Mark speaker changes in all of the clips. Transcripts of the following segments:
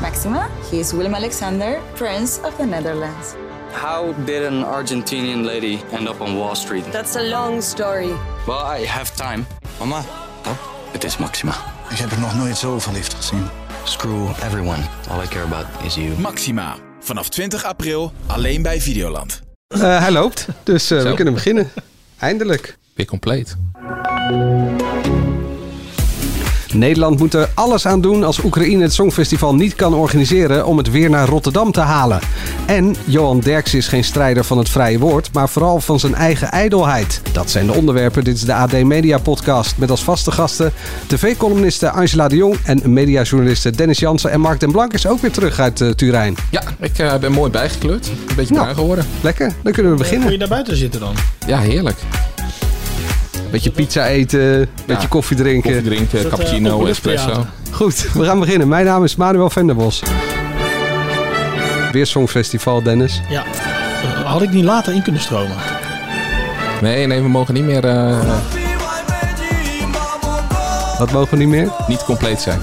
Speaker 1: Maxima. He is Willem Alexander, Prince of the Netherlands.
Speaker 2: How did an Argentinian lady end up on Wall Street?
Speaker 3: That's a long story.
Speaker 2: Well, I have time.
Speaker 4: Mama,
Speaker 2: Het is Maxima.
Speaker 5: Ik heb er nog nooit zo verliefd gezien.
Speaker 2: Screw everyone. All I care about is you.
Speaker 6: Maxima. Vanaf 20 april alleen bij Videoland.
Speaker 7: Eh, hij loopt, dus eh, we
Speaker 8: Zo.
Speaker 7: kunnen beginnen. Eindelijk.
Speaker 8: Weer compleet.
Speaker 7: Nederland moet er alles aan doen als Oekraïne het Songfestival niet kan organiseren om het weer naar Rotterdam te halen. En Johan Derks is geen strijder van het vrije woord, maar vooral van zijn eigen ijdelheid. Dat zijn de onderwerpen. Dit is de AD Media Podcast met als vaste gasten tv-columniste Angela de Jong en mediajournalisten Dennis Jansen. En Mark den Blank is ook weer terug uit eh, Turijn.
Speaker 8: Ja, ik eh, ben mooi bijgekleurd. Een beetje
Speaker 7: Nou.
Speaker 8: bruin geworden.
Speaker 7: Lekker, dan kunnen we
Speaker 9: Kun je
Speaker 7: beginnen.
Speaker 9: daar buiten zitten dan?
Speaker 8: Ja, heerlijk.
Speaker 7: Beetje pizza eten, beetje koffie drinken.
Speaker 8: Koffie drinken,
Speaker 9: dat, eh,
Speaker 8: cappuccino,
Speaker 9: openluchttheater?
Speaker 8: espresso.
Speaker 7: Goed, we gaan beginnen. Mijn naam is Manuel Venderbos. Weer Songfestival, Dennis.
Speaker 9: Ja. Had ik niet later in kunnen stromen.
Speaker 8: Nee, nee, we mogen niet meer eh,
Speaker 7: Dat mogen we niet meer.
Speaker 8: niet compleet zijn.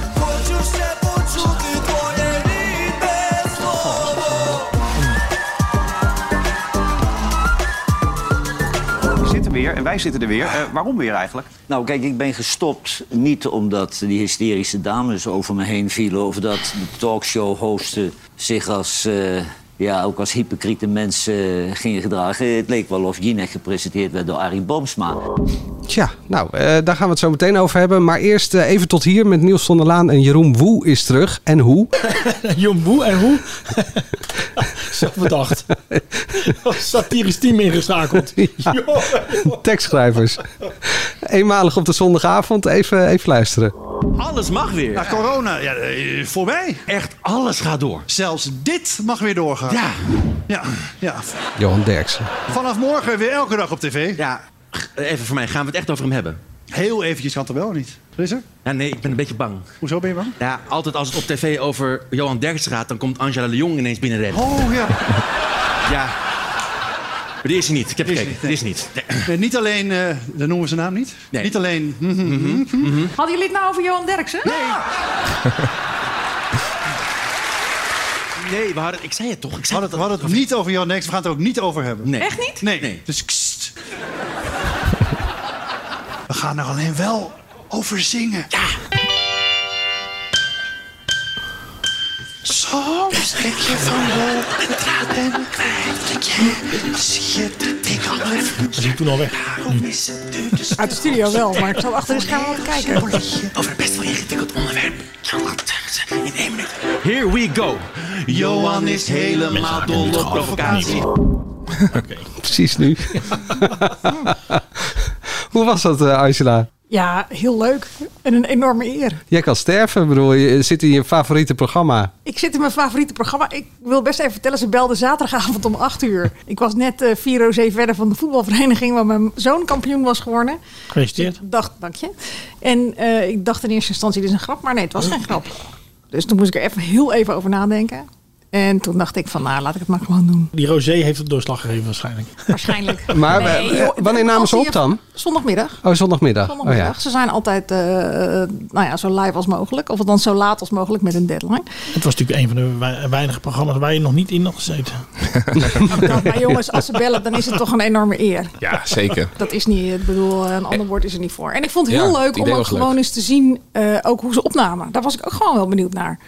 Speaker 10: zitten weer en wij zitten er weer. Eh, waarom weer eigenlijk?
Speaker 4: Nou, kijk, ik ben gestopt niet omdat die hysterische dames over me heen vielen... of dat de talkshow-hosten zich als, eh, ja, ook als hypocriete mensen eh, gingen gedragen. Het leek wel of Jinek gepresenteerd werd door Arie Boomsma.
Speaker 7: Tja, nou, eh, daar gaan we het zo meteen over hebben. Maar eerst eh, even tot hier met Niels van der Laan en Jeroen Woe is terug. En hoe?
Speaker 9: Jomboe en hoe? Zo bedacht. Satirisch team ingeschakeld. Joh, joh.
Speaker 7: Tekstschrijvers. Eenmalig op de zondagavond. Even, even luisteren.
Speaker 11: Alles mag weer.
Speaker 5: Ja, corona, ja, eh, voorbij.
Speaker 11: Echt alles gaat door.
Speaker 5: Zelfs dit mag weer doorgaan.
Speaker 11: Ja.
Speaker 5: ja, ja.
Speaker 7: Johan Derksen.
Speaker 5: Vanaf morgen weer elke dag op tv.
Speaker 11: Ja, even voor mij. Gaan we het echt over hem hebben?
Speaker 5: Heel eventjes kan het wel niet. Is er?
Speaker 11: Ja, nee, ik ben een beetje bang.
Speaker 5: Hoezo ben je bang?
Speaker 11: Ja, altijd als het op tv over Johan Derks gaat, dan komt Angela de Jong ineens binnenrennen.
Speaker 5: Oh ja.
Speaker 11: Ja. Maar die is hij niet. Ik heb
Speaker 5: Die is
Speaker 11: gekeken. Die
Speaker 5: hij
Speaker 11: is hij niet. Nee.
Speaker 5: Eh, niet alleen, eh, dan noemen we zijn naam niet.
Speaker 11: Nee. Mhm.
Speaker 5: Niet alleen. hm,
Speaker 3: Hadden jullie het nou over Johan Derksen?
Speaker 11: Nee, we hadden, ik zei het toch. Ik
Speaker 5: We
Speaker 11: zei
Speaker 5: hadden het, we hadden het niet over Jan Nex, we gaan het er ook niet over hebben.
Speaker 11: Nee.
Speaker 3: Echt niet?
Speaker 5: Nee.
Speaker 11: Nee.
Speaker 5: Dus kst. We gaan er alleen wel over zingen. Ja. Soms denk je van wel, het gaat en kwijt ik je. Zie je dat ik al even
Speaker 9: Dat is toen al weg.
Speaker 5: daarom is het nu dus
Speaker 3: Uit de studio wel, maar ik zal achter de schermen wat kijken.
Speaker 11: Over best wel ingewikkeld onderwerp. in één minuut. Here we go. Johan is helemaal dol op provocatie.
Speaker 7: Precies nu. hoe was dat, eh, Angela?
Speaker 3: Ja, heel leuk. En een enorme eer.
Speaker 7: Jij kan sterven. Ik bedoel, je zit in je favoriete programma.
Speaker 3: Ik zit in mijn favoriete programma. Ik wil best even vertellen, ze belde zaterdagavond om 8 uur. Ik was net eh, vier rosé verder van de voetbalvereniging... waar mijn zoon kampioen was geworden.
Speaker 9: Gefeliciteerd.
Speaker 3: Ik dacht, dank je. En eh, ik dacht in eerste instantie, dit is een grap, maar nee, het was geen grap. Dus toen moest ik er even heel even over nadenken. En toen dacht ik van, nou, laat ik het maar gewoon doen.
Speaker 9: Die Rosé heeft het doorslag gegeven waarschijnlijk.
Speaker 3: Waarschijnlijk.
Speaker 7: Maar
Speaker 3: Nee,
Speaker 7: eh,
Speaker 3: joh,
Speaker 7: wanneer namen
Speaker 3: als
Speaker 7: ze
Speaker 3: die-
Speaker 7: op dan?
Speaker 3: Zondagmiddag.
Speaker 7: Oh, zondagmiddag.
Speaker 3: Zondagmiddag.
Speaker 7: Oh,
Speaker 3: Ze zijn altijd eh, nou ja, zo live als mogelijk. Of dan zo laat als mogelijk met een deadline.
Speaker 9: Het was natuurlijk een van de wei- weinige programma's waar je nog niet in had gezeten.
Speaker 3: Nou, maar jongens, als ze bellen, dan is het toch een enorme eer.
Speaker 8: Ja, zeker.
Speaker 3: Dat is niet, ik bedoel, eh, een ander woord is er niet voor. En ik vond het heel
Speaker 8: Ja, het
Speaker 3: leuk om
Speaker 8: idee
Speaker 3: ook
Speaker 8: was leuk.
Speaker 3: gewoon eens te zien eh, ook hoe ze opnamen. Daar was ik ook gewoon wel benieuwd naar.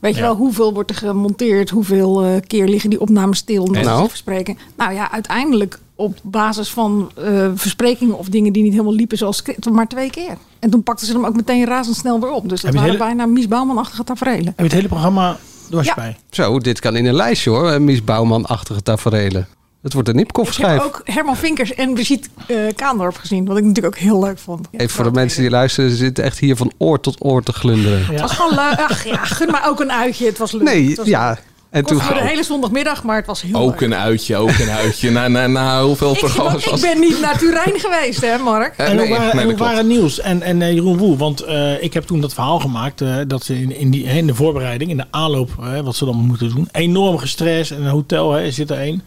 Speaker 3: Weet je
Speaker 9: Ja.
Speaker 3: wel, hoeveel wordt er gemonteerd? Hoeveel eh, keer liggen die opnames stil? Omdat ze
Speaker 7: nou?
Speaker 3: ze verspreken. Nou ja, uiteindelijk op basis van eh, versprekingen of dingen die niet helemaal liepen zoals script, maar twee keer. En toen pakten ze hem ook meteen razendsnel weer op. Dus
Speaker 9: Heb
Speaker 3: dat
Speaker 9: je
Speaker 3: waren
Speaker 9: hele-
Speaker 3: bijna Mies Bouwman-achtige tafereelen.
Speaker 9: Heb je het hele programma door
Speaker 3: Ja.
Speaker 9: bij?
Speaker 7: Zo, dit kan in een lijstje hoor. Eh, Mies Bouwman-achtige taferelen. Het wordt een
Speaker 3: Ik heb
Speaker 7: nipkoffschijf.
Speaker 3: ook Herman Vinkers en Brigitte eh, Kaandorp gezien. Wat ik natuurlijk ook heel leuk vond.
Speaker 7: Even voor de mensen die luisteren, ze zitten echt hier van oor tot oor te glunderen.
Speaker 3: Het was gewoon leuk. Ach ja, gun maar ook een uitje. Het was leuk. het
Speaker 7: Nee,
Speaker 3: was
Speaker 7: ja. En
Speaker 3: Het
Speaker 7: toen,
Speaker 3: kostte me de hele zondagmiddag, maar het was heel
Speaker 8: Ook
Speaker 3: leuk.
Speaker 8: een uitje, ook een uitje. Na, na, na hoeveel
Speaker 3: Ik,
Speaker 8: programma's
Speaker 3: ik
Speaker 8: was
Speaker 3: ben niet naar Turijn geweest, hè Mark?
Speaker 8: Eh,
Speaker 9: En
Speaker 8: nee,
Speaker 9: hoe waren,
Speaker 8: nee,
Speaker 9: en
Speaker 8: dat
Speaker 9: hoe
Speaker 8: klopt.
Speaker 9: waren Niels en, en eh, Jeroen Woe? Want eh, ik heb toen dat verhaal gemaakt eh, dat ze in, in, die, in de voorbereiding, in de aanloop, eh, wat ze dan moeten doen. Enorm gestrest en een hotel hè, zit er één.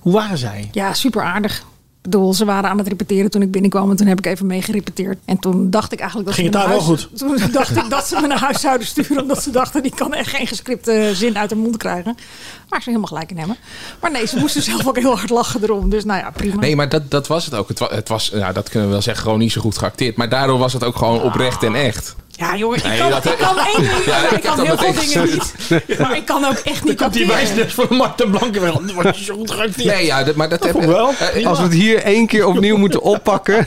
Speaker 9: Hoe waren zij?
Speaker 3: Ja, super aardig. bedoel, ze waren aan het repeteren toen ik binnenkwam. En toen heb ik even meegerepeteerd. En toen dacht ik eigenlijk dat
Speaker 9: Ging
Speaker 3: ze
Speaker 9: het
Speaker 3: me
Speaker 9: daar
Speaker 3: naar
Speaker 9: wel goed?
Speaker 3: huis- Toen dacht ik dat ze me naar huis zouden sturen. Omdat ze dachten, die kan echt geen gescripte zin uit haar mond krijgen. Maar ze helemaal gelijk in hebben. Maar nee, ze moesten zelf ook heel hard lachen erom. Dus nou ja, prima.
Speaker 8: Nee, maar dat, dat was het ook. Het was, het was, nou, dat kunnen we wel zeggen, gewoon niet zo goed geacteerd. Maar daardoor was het ook gewoon oprecht en echt.
Speaker 3: Ja, jongen, ik
Speaker 8: Nee,
Speaker 3: kan,
Speaker 8: dat-
Speaker 3: ik kan één ding.
Speaker 8: Ja,
Speaker 3: ik
Speaker 8: ik heb
Speaker 3: kan
Speaker 8: dat
Speaker 3: heel veel
Speaker 8: meteen
Speaker 3: dingen niet. Maar ik kan ook echt niet
Speaker 9: komt die
Speaker 3: acteren.
Speaker 9: wijsles van Marten Blanke wel. Dat wordt zo goed geacteerd.
Speaker 8: Nee, ja, dat- maar dat,
Speaker 9: Dat
Speaker 8: heb
Speaker 9: vond ik wel.
Speaker 8: eh,
Speaker 7: Als we het hier één keer opnieuw moeten oppakken.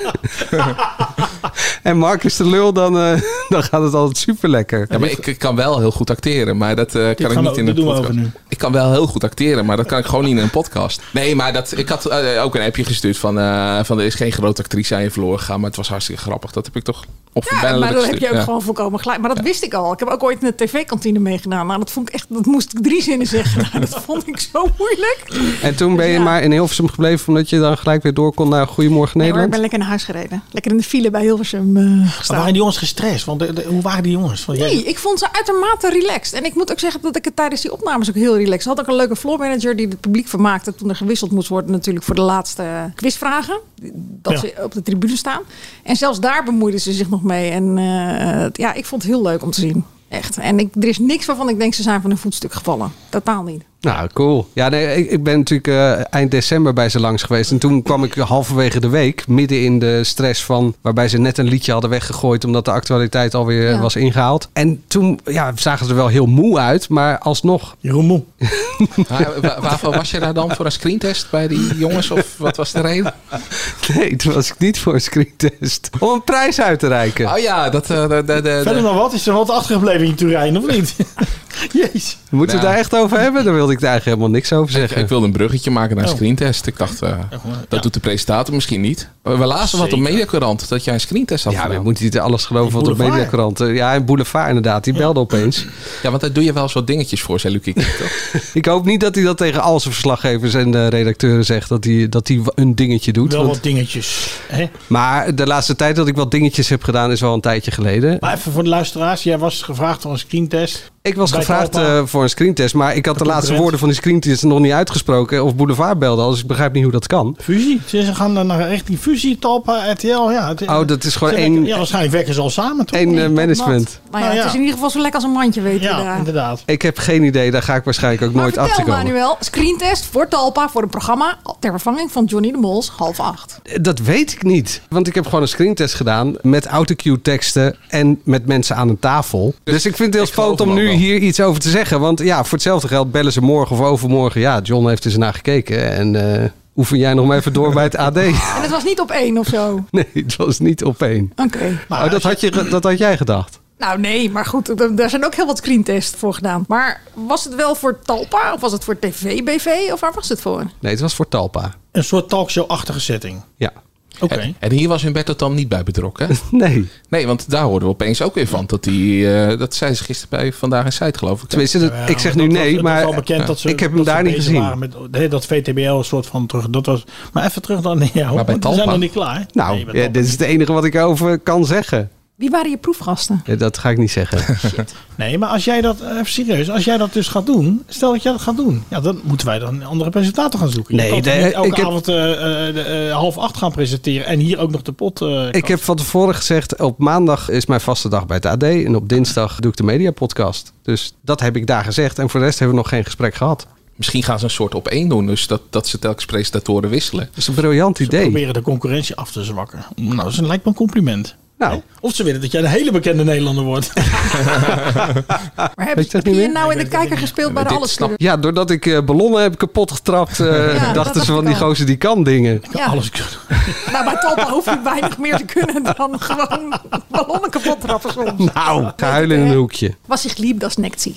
Speaker 7: en Mark is de lul, dan, eh, dan gaat het altijd super lekker.
Speaker 8: Ja, maar ik, ik kan wel heel goed acteren, maar dat eh, kan ik
Speaker 9: gaan
Speaker 8: niet
Speaker 9: we-
Speaker 8: in
Speaker 9: dit
Speaker 8: een
Speaker 9: doen we
Speaker 8: podcast.
Speaker 9: over nu.
Speaker 8: Ik kan wel heel goed acteren, maar dat kan ik gewoon niet in een podcast. Nee, maar dat, ik had eh, ook een appje gestuurd van, eh, van er is geen grote actrice aan je verloren gegaan, maar het was hartstikke grappig. Dat heb ik toch op
Speaker 3: Ja, maar dat heb je ook
Speaker 8: ja.
Speaker 3: gewoon volkomen gelijk. Maar dat wist ik al. Ik heb ook ooit in de tv-kantine meegedaan. Nou, dat vond ik echt, dat moest ik drie zinnen zeggen. Nou, dat vond ik zo moeilijk.
Speaker 7: En toen ben je
Speaker 3: Ja.
Speaker 7: maar in Hilversum gebleven, omdat je dan gelijk weer door kon naar Goedemorgen
Speaker 3: Nee, hoor, ik
Speaker 7: Nederland.
Speaker 3: ben lekker naar huis gereden. Lekker in de file bij Hilversum eh,
Speaker 9: Maar
Speaker 3: gestaan.
Speaker 9: waren die jongens gestrest? Want de- de- hoe waren die jongens? Van, jij-
Speaker 3: Nee, ik vond ze uitermate relaxed. En ik moet ook zeggen dat ik het tijdens die opnames ook heel relaxed had. Ook een leuke floormanager die het publiek vermaakte toen er gewisseld moest worden natuurlijk voor de laatste quizvragen. Dat
Speaker 9: Ja.
Speaker 3: ze op de tribune staan. En zelfs daar bemoeiden ze zich nog mee. En eh, het- ja, ik vond het heel leuk om te zien. Echt. En ik, er is niks waarvan ik denk ze zijn van hun voetstuk gevallen. Totaal niet.
Speaker 7: Nou, cool. Ja, nee, ik, ik ben natuurlijk eh, eind december bij ze langs geweest. En toen kwam ik halverwege de week, midden in de stress van... waarbij ze net een liedje hadden weggegooid... omdat de actualiteit alweer
Speaker 3: Ja.
Speaker 7: was ingehaald. En toen ja, zagen ze er wel heel moe uit, maar alsnog...
Speaker 9: Jeroen Moe.
Speaker 8: Maar wa- waarvoor was je daar dan voor een screentest bij die jongens of wat was de reden?
Speaker 7: Nee, toen was ik niet voor een screentest. Om een prijs uit te reiken.
Speaker 8: Oh ja, dat... eh, de, de, de-
Speaker 9: Verder nog wat? Is er wat achtergebleven in Turijn of niet? Jezus.
Speaker 7: Moeten we
Speaker 8: Ja.
Speaker 7: het daar echt over hebben? Daar wilde ik daar eigenlijk helemaal niks over
Speaker 8: Ik,
Speaker 7: zeggen.
Speaker 8: ik wilde een bruggetje maken naar een
Speaker 9: Oh.
Speaker 8: screentest. Ik dacht, eh,
Speaker 9: maar,
Speaker 8: dat doet de presentator misschien niet. We we lazen wat op
Speaker 9: Zeker.
Speaker 8: Mediacurant, dat jij een screentest had
Speaker 7: ja, maar
Speaker 8: gedaan.
Speaker 7: moet niet alles geloven wat op
Speaker 9: Boulevard.
Speaker 7: Mediakrant... eh, Ja, en Boulevard inderdaad. Die belde opeens.
Speaker 8: Ja, want daar doe je wel zo'n dingetjes voor, zei Lucie. toch?
Speaker 7: Ik hoop niet dat hij dat tegen al zijn verslaggevers en eh, redacteuren zegt. Dat hij, dat hij een dingetje doet.
Speaker 9: Wel
Speaker 7: want-
Speaker 9: wat dingetjes. Hè?
Speaker 7: maar de laatste tijd dat ik wat dingetjes heb gedaan is wel een tijdje geleden.
Speaker 9: Maar even voor de luisteraars. Jij was gevraagd voor een screentest.
Speaker 7: Ik was
Speaker 9: Bij
Speaker 7: gevraagd
Speaker 9: Talpa.
Speaker 7: eh, voor een screentest. Maar ik had de laatste
Speaker 9: concurrent.
Speaker 7: woorden van die screentest nog niet uitgesproken. Of Boulevard belde al. Dus ik begrijp niet hoe dat kan.
Speaker 9: Fusie. Ze ze gaan dan naar richting fusie, Talpa, RTL. Ja, het-
Speaker 7: Oh, dat is gewoon
Speaker 9: ze
Speaker 7: één-
Speaker 9: werken- Ja, waarschijnlijk werken ze al samen toch?
Speaker 7: Eén eh,
Speaker 3: Nee,
Speaker 7: management.
Speaker 3: wat? Nou ja,
Speaker 9: Nou ja.
Speaker 3: het is in ieder geval zo lekker als een mandje, weet je
Speaker 9: Ja,
Speaker 3: daar.
Speaker 9: inderdaad.
Speaker 7: Ik heb geen idee. Daar ga ik waarschijnlijk ook nooit
Speaker 3: maar
Speaker 7: achter
Speaker 3: vertel
Speaker 7: komen.
Speaker 3: Manuel, screentest voor Talpa voor een programma ter vervanging van Johnny de Mols half acht.
Speaker 7: Dat weet ik niet. Want ik heb gewoon een screentest gedaan met autocue teksten en met mensen aan een tafel. Dus, ik vind het heel
Speaker 8: ik
Speaker 7: spannend om
Speaker 8: geloof hem
Speaker 7: nu
Speaker 8: ook wel.
Speaker 7: hier iets over te zeggen. Want ja, voor hetzelfde geld bellen ze morgen of overmorgen. Ja, John heeft eens naar gekeken. En eh, oefen jij nog maar even door bij het AD.
Speaker 3: En het was niet op één of zo. Oké.
Speaker 7: Nee, het was niet op één.
Speaker 9: Maar
Speaker 7: oh, dat, had je, ge- dat had jij gedacht.
Speaker 3: Nou nee, maar goed, d- daar zijn ook heel wat screentests voor gedaan. Maar was het wel voor Talpa of was het voor TVBV of waar was het voor?
Speaker 7: Nee, het was voor Talpa.
Speaker 9: Een soort talkshow-achtige setting.
Speaker 7: Ja.
Speaker 9: Oké.
Speaker 7: Eh,
Speaker 8: En, en hier was Humberto Tan niet bij betrokken. hè?
Speaker 7: Nee.
Speaker 8: Nee, want daar hoorden we opeens ook weer van. Dat, die, eh, dat zei ze gisteren bij Vandaag in Site, geloof ik.
Speaker 7: Tenminste, dat-
Speaker 9: Ja,
Speaker 7: ik zeg
Speaker 9: dat
Speaker 7: nu
Speaker 9: was- het
Speaker 7: nee,
Speaker 9: was wel
Speaker 7: maar
Speaker 9: bekend dat ze-
Speaker 7: ik heb hem
Speaker 9: dat ze
Speaker 7: daar niet
Speaker 9: bezig
Speaker 7: gezien.
Speaker 9: waren Met, hè, dat VTBL een soort van terug. Dat was, maar even terug dan. Ja, hoor,
Speaker 8: bij
Speaker 9: want we
Speaker 8: Talpa?
Speaker 9: zijn nog niet klaar.
Speaker 7: Nou,
Speaker 9: Nee, bij
Speaker 7: ja,
Speaker 9: Talpa.
Speaker 7: dit is het enige wat ik over kan zeggen.
Speaker 3: Wie waren je proefgasten?
Speaker 7: Ja, Dat ga ik niet zeggen.
Speaker 9: nee, maar als jij dat, eh, even serieus, als jij dat dus gaat doen, stel dat jij dat gaat doen, ja, dan moeten wij dan een andere presentator gaan zoeken.
Speaker 7: Nee,
Speaker 9: je kan
Speaker 7: de-
Speaker 9: toch niet elke
Speaker 7: ik heb-
Speaker 9: avond eh, eh, de, eh, half acht gaan presenteren en hier ook nog de pot. eh,
Speaker 7: Ik heb van tevoren gezegd, op maandag is mijn vaste dag bij het AD. En op dinsdag doe ik de mediapodcast. Dus dat heb ik daar gezegd. En voor de rest hebben we nog geen gesprek gehad.
Speaker 8: Misschien gaan ze een soort op één doen. Dus dat, dat ze telkens presentatoren wisselen.
Speaker 7: Dat is een briljant idee.
Speaker 9: proberen de concurrentie af te zwakken. Nou, dat is een, lijkt me een compliment.
Speaker 7: Nou,
Speaker 9: Of ze willen dat jij een hele bekende Nederlander wordt.
Speaker 3: Maar heb,
Speaker 7: ik Ah, dat
Speaker 3: heb je
Speaker 7: niet
Speaker 3: je
Speaker 7: meer?
Speaker 3: nou in de kijker gespeeld bij de
Speaker 8: Dit
Speaker 3: alles?
Speaker 8: snap-
Speaker 7: ja, doordat ik eh, ballonnen heb kapot getrapt, eh,
Speaker 3: dat
Speaker 7: dachten
Speaker 3: dacht
Speaker 7: ze van
Speaker 3: ik
Speaker 7: die
Speaker 3: al.
Speaker 7: gozer die kan dingen.
Speaker 3: Ja.
Speaker 9: Alles kunnen.
Speaker 3: Nou, bij Talpa hoef je weinig meer te kunnen dan gewoon ballonnen kapot trappen soms.
Speaker 7: Nou, ga huilen in een hoekje.
Speaker 3: Was ik liep, dat is nectie.